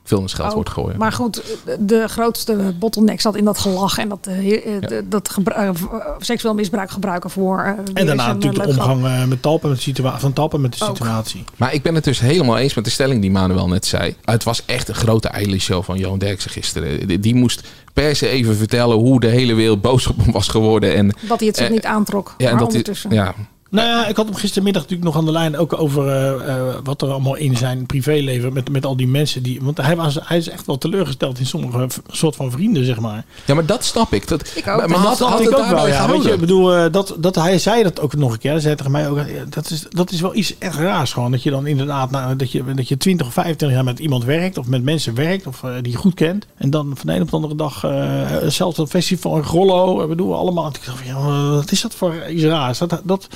Speaker 8: veel in scheld wordt gegooid.
Speaker 3: Oh, Maar goed, de grootste bottleneck zat in dat gelach en dat, eh, eh,
Speaker 8: Ja.
Speaker 3: dat gebru- eh, seksueel misbruik gebruiken voor. eh, weer
Speaker 9: En
Speaker 3: zo'n,
Speaker 9: daarna
Speaker 3: eh,
Speaker 9: natuurlijk de
Speaker 3: leuk grap.
Speaker 9: omgang eh, met Talpa met de situa- van Talpa met de situatie.
Speaker 8: Maar ik ben het dus helemaal eens met de stelling die Manuel net zei. Het was echt een grote show van Johan Derksen gisteren. Die- Die moest per se even vertellen hoe de hele wereld boos op hem was geworden. En,
Speaker 3: Dat hij het zich
Speaker 8: eh,
Speaker 3: niet aantrok.
Speaker 8: Ja, en
Speaker 3: maar
Speaker 8: dat hij,
Speaker 3: ondertussen.
Speaker 8: ja,
Speaker 9: Nou ja, ik had hem gistermiddag natuurlijk nog aan de lijn ook over eh, eh, wat er allemaal in zijn privéleven met, met al die mensen die. Want hij, was, hij is echt wel teleurgesteld in sommige v- soort van vrienden, zeg maar.
Speaker 8: ja, maar dat snap ik. Dat,
Speaker 9: Ik
Speaker 8: maar- Maar had,
Speaker 9: ik
Speaker 8: had het nou-
Speaker 9: ook wel.
Speaker 8: daarbij
Speaker 9: Ja, weet je, ik
Speaker 8: gehouden?
Speaker 9: bedoel, eh, dat, dat hij zei dat ook nog een keer. Hij zei tegen mij ook, eh, dat is, dat is wel iets echt raars gewoon. Dat je dan inderdaad, nou, dat, je, dat je 20 of 25 jaar met iemand werkt. Of met mensen werkt. Of eh, die je goed kent. En dan van de een op de andere dag, eh, zelfs dat festival in Grollo. eh, bedoel, allemaal. Ik dacht van, ja, eh, wat is dat voor iets raars? Dat, dat,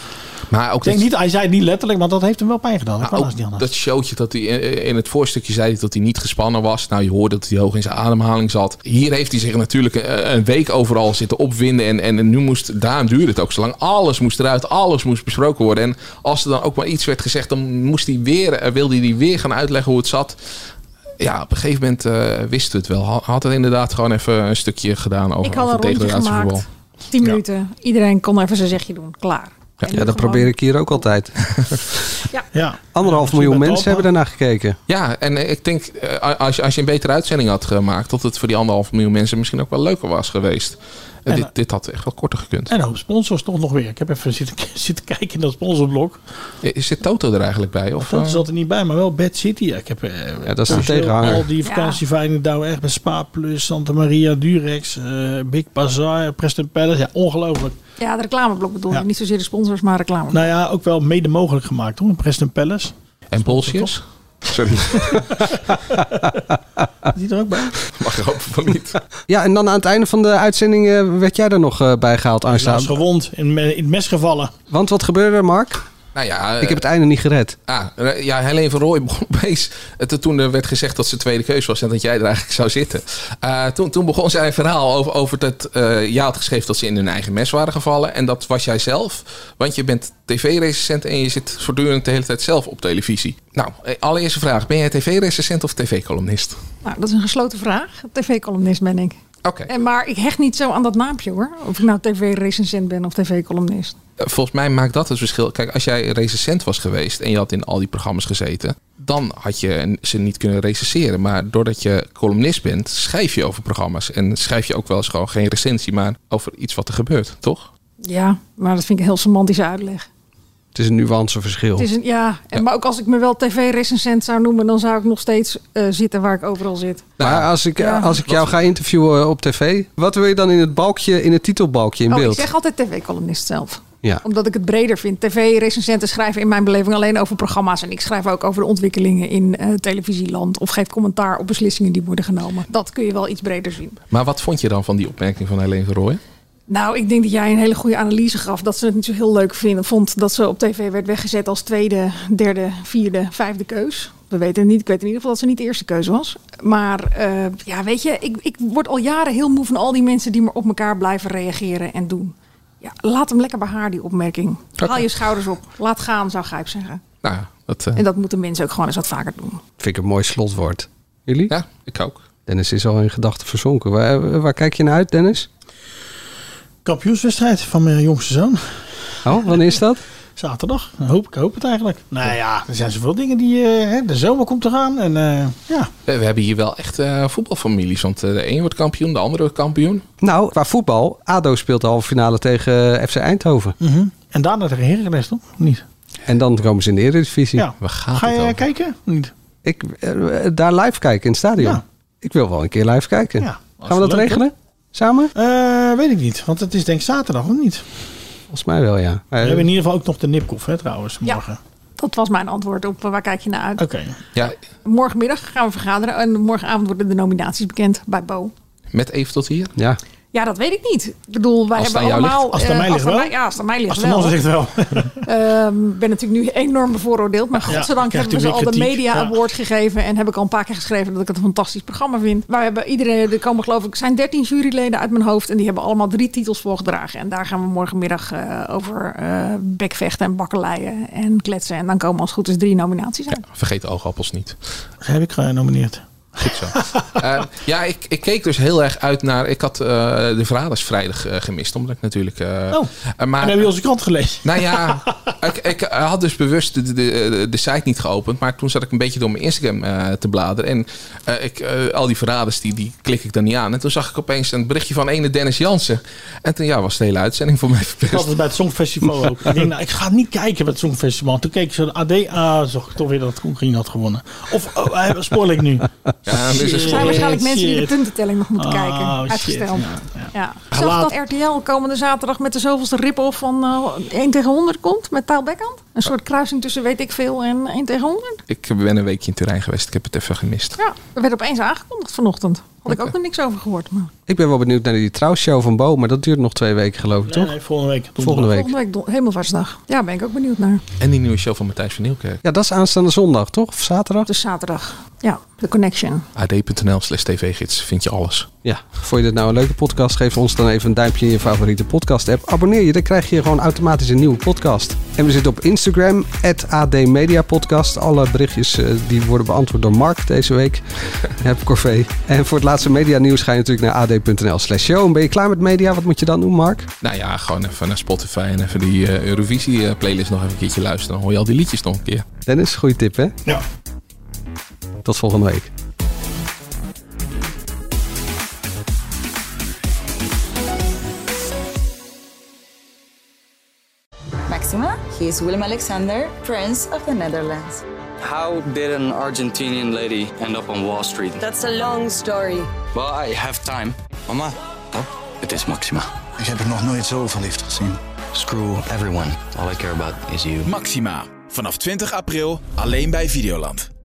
Speaker 8: Maar ook
Speaker 9: ik denk
Speaker 8: dat- Nou,
Speaker 9: niet, hij zei het niet letterlijk, maar dat heeft hem wel pijn gedaan. Dat kan haast niet
Speaker 8: Ook
Speaker 9: anders.
Speaker 8: dat showtje dat hij eh, in het voorstukje zei hij dat hij niet gespannen was. Nou, je hoorde dat hij hoog in zijn ademhaling zat. Hier heeft hij zich natuurlijk eh, een week overal zitten opwinden. En, en nu moest, daarom duurde het ook zo lang. Alles moest eruit, alles moest besproken worden. En als er dan ook maar iets werd gezegd, dan moest hij weer, eh, wilde hij weer gaan uitleggen hoe het zat. Ja, op een gegeven moment eh wisten we het wel. Ha- Had het inderdaad gewoon even een stukje gedaan over,
Speaker 3: Ik had
Speaker 8: over
Speaker 3: een rondje
Speaker 8: degradatievoetbal.
Speaker 3: gemaakt. 10 minuten. Iedereen kon even zijn zegje doen. Klaar. En nu
Speaker 7: Ja, dat
Speaker 3: gewoon-
Speaker 7: probeer ik hier ook altijd.
Speaker 9: Ja.
Speaker 7: Anderhalf miljoen mensen hebben daarna gekeken.
Speaker 8: Ja, en eh, ik denk, eh, als je, als je een betere uitzending had gemaakt, dat het voor die anderhalf miljoen mensen misschien ook wel leuker was geweest. Eh, dit, dit had echt wel korter gekund.
Speaker 9: En een hoop sponsors toch nog weer. Ik heb even zitten, zitten kijken in dat sponsorblok.
Speaker 8: Eh, Zit Toto er eigenlijk bij? Of,
Speaker 9: Dat
Speaker 8: eh?
Speaker 9: zat er niet bij, maar wel Bad City. Ja, ik heb eh,
Speaker 8: dat is de
Speaker 9: commercieel
Speaker 8: tegenhanger.
Speaker 9: Al die vakantieverenigingen daar echt bij Spa Plus, Santa Maria, Durex, eh, Big Bazaar, Preston Palace. Ja, ongelooflijk.
Speaker 3: Ja, de reclameblok bedoel ik. Niet zozeer de sponsors, maar reclame.
Speaker 9: Nou ja, ook wel mede mogelijk gemaakt hoor, Preston Palace.
Speaker 8: En Bolsjes? Sorry. Ah.
Speaker 9: die er ook bij?
Speaker 8: Mag ik hopen van niet.
Speaker 7: Ja, en dan aan het einde van de uitzending eh, werd jij er nog eh, bij gehaald,
Speaker 9: Hij
Speaker 7: Arnstaat.
Speaker 9: is gewond, in, me- in het mes gevallen.
Speaker 7: Want wat gebeurde er, Mark?
Speaker 8: Nou ja, eh,
Speaker 7: ik heb het einde niet gered.
Speaker 8: Ah, eh, ja, Helene van Rooij begon opeens... eh, te- Toen er werd gezegd dat ze tweede keus was en dat jij er eigenlijk zou zitten. Eh, toen, toen begon zij een verhaal over, over dat eh jij had geschreven dat ze in hun eigen mes waren gevallen. En dat was jij zelf, want je bent tv-recensent en je zit voortdurend de hele tijd zelf op televisie. Nou, eh, allereerste vraag. Ben jij tv-recensent of tv-columnist?
Speaker 3: Nou, dat is een gesloten vraag. TV-columnist ben ik.
Speaker 8: Oké.
Speaker 3: En, maar ik hecht niet zo aan dat naampje hoor. Of ik nou tv-recensent ben of tv-columnist.
Speaker 8: Eh, Volgens mij maakt dat het verschil. Kijk, als jij recensent was geweest en je had in al die programma's gezeten, dan had je ze niet kunnen recenseren. Maar doordat je columnist bent, schrijf je over programma's. En schrijf je ook wel eens gewoon geen recensie, maar over iets wat er gebeurt, toch?
Speaker 3: Ja, maar dat vind ik een heel semantische uitleg.
Speaker 7: Het is een nuanceverschil.
Speaker 3: Het is een, ja, en, maar ook als ik me wel tv-recensent zou noemen, dan zou ik nog steeds eh, zitten waar ik overal zit.
Speaker 7: maar als ik, eh,
Speaker 3: Ja.
Speaker 7: als ik jou ga interviewen eh, op tv, wat wil je dan in het balkje, in het titelbalkje in
Speaker 3: oh,
Speaker 7: beeld?
Speaker 3: ik zeg altijd tv-columnist zelf.
Speaker 7: Ja.
Speaker 3: Omdat ik het breder vind. TV-recensenten schrijven in mijn beleving alleen over programma's. En ik schrijf ook over de ontwikkelingen in eh, televisieland. Of geef commentaar op beslissingen die worden genomen. Dat kun je wel iets breder zien.
Speaker 8: Maar wat vond je dan van die opmerking van Helene Verrooy?
Speaker 3: Nou, ik denk dat jij een hele goede analyse gaf. Dat ze het niet zo heel leuk vinden, vond dat ze op tv werd weggezet als tweede, derde, vierde, vijfde keus. We weten het niet. Ik weet in ieder geval dat ze niet de eerste keuze was. Maar eh, ja, weet je, ik, ik word al jaren heel moe van al die mensen die maar op elkaar blijven reageren en doen. Ja, laat hem lekker bij haar, die opmerking. Haal je schouders op. Laat gaan, zou Gijp zeggen.
Speaker 8: Nou, ja, dat eh,
Speaker 3: En dat moeten mensen ook gewoon eens wat vaker doen.
Speaker 7: Vind ik een mooi slotwoord. Jullie?
Speaker 8: Ja, ik ook.
Speaker 7: Dennis is al in gedachten verzonken. Waar, waar kijk je naar uit, Dennis?
Speaker 9: Kampioenswedstrijd van mijn jongste zoon.
Speaker 7: Oh, wanneer is dat?
Speaker 9: Zaterdag. Ik hoop, ik hoop het eigenlijk. Nou ja, er zijn zoveel dingen die... eh, hè, de zomer komt eraan en eh, ja.
Speaker 8: we we hebben hier wel echt eh, voetbalfamilies. Want eh, de een wordt kampioen, de ander wordt kampioen.
Speaker 7: Nou, qua voetbal, ADO speelt de halve finale tegen eh, FC Eindhoven.
Speaker 9: Mhm. En daarna tegen Heracles toch? Niet.
Speaker 7: En dan komen ze in de Eredivisie.
Speaker 9: Ja. Ga je kijken? Niet.
Speaker 7: Ik, eh, eh, daar live kijken in het stadion. Ik wil wel een keer live kijken. Gaan we dat regelen? Samen?
Speaker 9: Eh, weet ik niet, want het is denk ik zaterdag of niet?
Speaker 7: Volgens mij wel, ja. Eh,
Speaker 9: We hebben in ieder geval ook nog de Nipkoff hè, trouwens morgen.
Speaker 3: Dat was mijn antwoord op eh, waar kijk je naar uit.
Speaker 9: Oké.
Speaker 8: Ja,
Speaker 3: Morgenmiddag gaan we vergaderen en morgenavond worden de nominaties bekend bij Bo.
Speaker 8: met even tot hier.
Speaker 7: Ja.
Speaker 3: Ja, dat weet ik niet. Ik bedoel, wij
Speaker 8: Als het
Speaker 3: hebben
Speaker 8: aan jou
Speaker 3: allemaal.
Speaker 8: ligt. Als het aan
Speaker 3: eh,
Speaker 8: mij ligt wel.
Speaker 3: mij- ja, als het aan mij ligt
Speaker 9: Als de
Speaker 3: wel.
Speaker 9: man zegt wel.
Speaker 3: Ehm, Ik ben natuurlijk nu enorm bevooroordeeld. Maar
Speaker 9: Ja,
Speaker 3: godzijdank
Speaker 9: krijgt
Speaker 3: hebben we
Speaker 9: u
Speaker 3: ze al
Speaker 9: weer
Speaker 3: de
Speaker 9: kritiek.
Speaker 3: Media
Speaker 9: Ja.
Speaker 3: Award gegeven. En heb ik al een paar keer geschreven dat ik het een fantastisch programma vind. Maar we hebben iedereen, er komen geloof ik, zijn 13 juryleden uit mijn hoofd. En die hebben allemaal drie titels voorgedragen. En daar gaan we morgenmiddag eh, over eh bekvechten en bakkeleien en kletsen. En dan komen als het goed is drie nominaties uit.
Speaker 8: Vergeet de oogappels niet.
Speaker 9: Heb ik genomineerd.
Speaker 8: Goed zo. Eh, ja, ik, ik keek dus heel erg uit naar... Ik had eh, de Verraders vrijdag eh, gemist, omdat ik natuurlijk... eh,
Speaker 9: Oh,
Speaker 8: eh, maar,
Speaker 9: en heb je onze krant gelezen?
Speaker 8: Nou ja, ik, ik had dus bewust de, de, de, de site niet geopend. Maar toen zat ik een beetje door mijn Instagram eh, te bladeren. En eh, ik, eh, al die verraders, die, die klik ik dan niet aan. En toen zag ik opeens een berichtje van ene Dennis Jansen. En toen ja, was de hele uitzending voor mij
Speaker 9: Ik had
Speaker 8: verpest.
Speaker 9: het bij het Songfestival ook. Ik denk, nou, ik ga niet kijken bij het Songfestival. Toen keek ik zo de AD, ah, zag ik toch weer dat Groen had gewonnen. Of, oh, hij- spoor ik nu.
Speaker 8: Ja, dus
Speaker 3: Er zijn waarschijnlijk mensen die de puntentelling nog moeten
Speaker 9: Oh,
Speaker 3: kijken.
Speaker 9: shit,
Speaker 3: Uitgesteld.
Speaker 9: ja,
Speaker 3: ja. Zelfs
Speaker 9: Laat-
Speaker 3: dat RTL komende zaterdag met de zoveelste rip-off van eh 1 tegen 100 komt. Met taalbekkend. Een soort kruising tussen weet ik veel en 1 tegen 100.
Speaker 8: Ik ben een weekje in Turijn geweest. Ik heb het even gemist.
Speaker 3: Ja, dat werd opeens aangekondigd vanochtend. Had ik ook nog niks over gehoord. Maar
Speaker 7: Ik ben wel benieuwd naar die trouwshow van Bo, maar dat duurt nog twee weken geloof ik,
Speaker 9: Nee,
Speaker 7: toch?
Speaker 9: nee, volgende week.
Speaker 7: Volgende week.
Speaker 3: volgende week don- helemaal vastdag. Ja, ben ik ook benieuwd naar.
Speaker 8: En die nieuwe show van Matthijs van Nieuwkerk.
Speaker 7: Ja, dat is aanstaande zondag, toch? Of zaterdag?
Speaker 3: Dus zaterdag. Ja, de connection.
Speaker 8: AD.nl slash tv-gids vind je alles.
Speaker 7: Ja, vond je dit nou een leuke podcast? Geef ons dan even een duimpje in je favoriete podcast app. Abonneer je, dan krijg je gewoon automatisch een nieuwe podcast. En we zitten op Instagram, @admediapodcast. Alle berichtjes eh, die worden beantwoord door Mark deze week. Heb Corvée. En voor het laatste medianieuws ga je natuurlijk naar ad.nl slash show. En ben je klaar met media? Wat moet je dan doen, Mark?
Speaker 8: Nou ja, gewoon even naar Spotify en even die eh, Eurovisie-playlist nog even een keertje luisteren. Dan hoor je al die liedjes nog een keer.
Speaker 7: Dennis, goede tip, hè?
Speaker 9: Ja.
Speaker 7: Tot volgende week.
Speaker 1: Maxima, he is Willem Alexander, Prince of the Netherlands.
Speaker 2: How did an Argentinian lady end up on Wall Street?
Speaker 14: That's a long story.
Speaker 2: Well, I have time. Mama, het is Maxima.
Speaker 15: Ik heb er nog nooit zo verliefd gezien.
Speaker 6: Screw everyone. All I care about is you. Maxima. Vanaf 20 april alleen bij Videoland.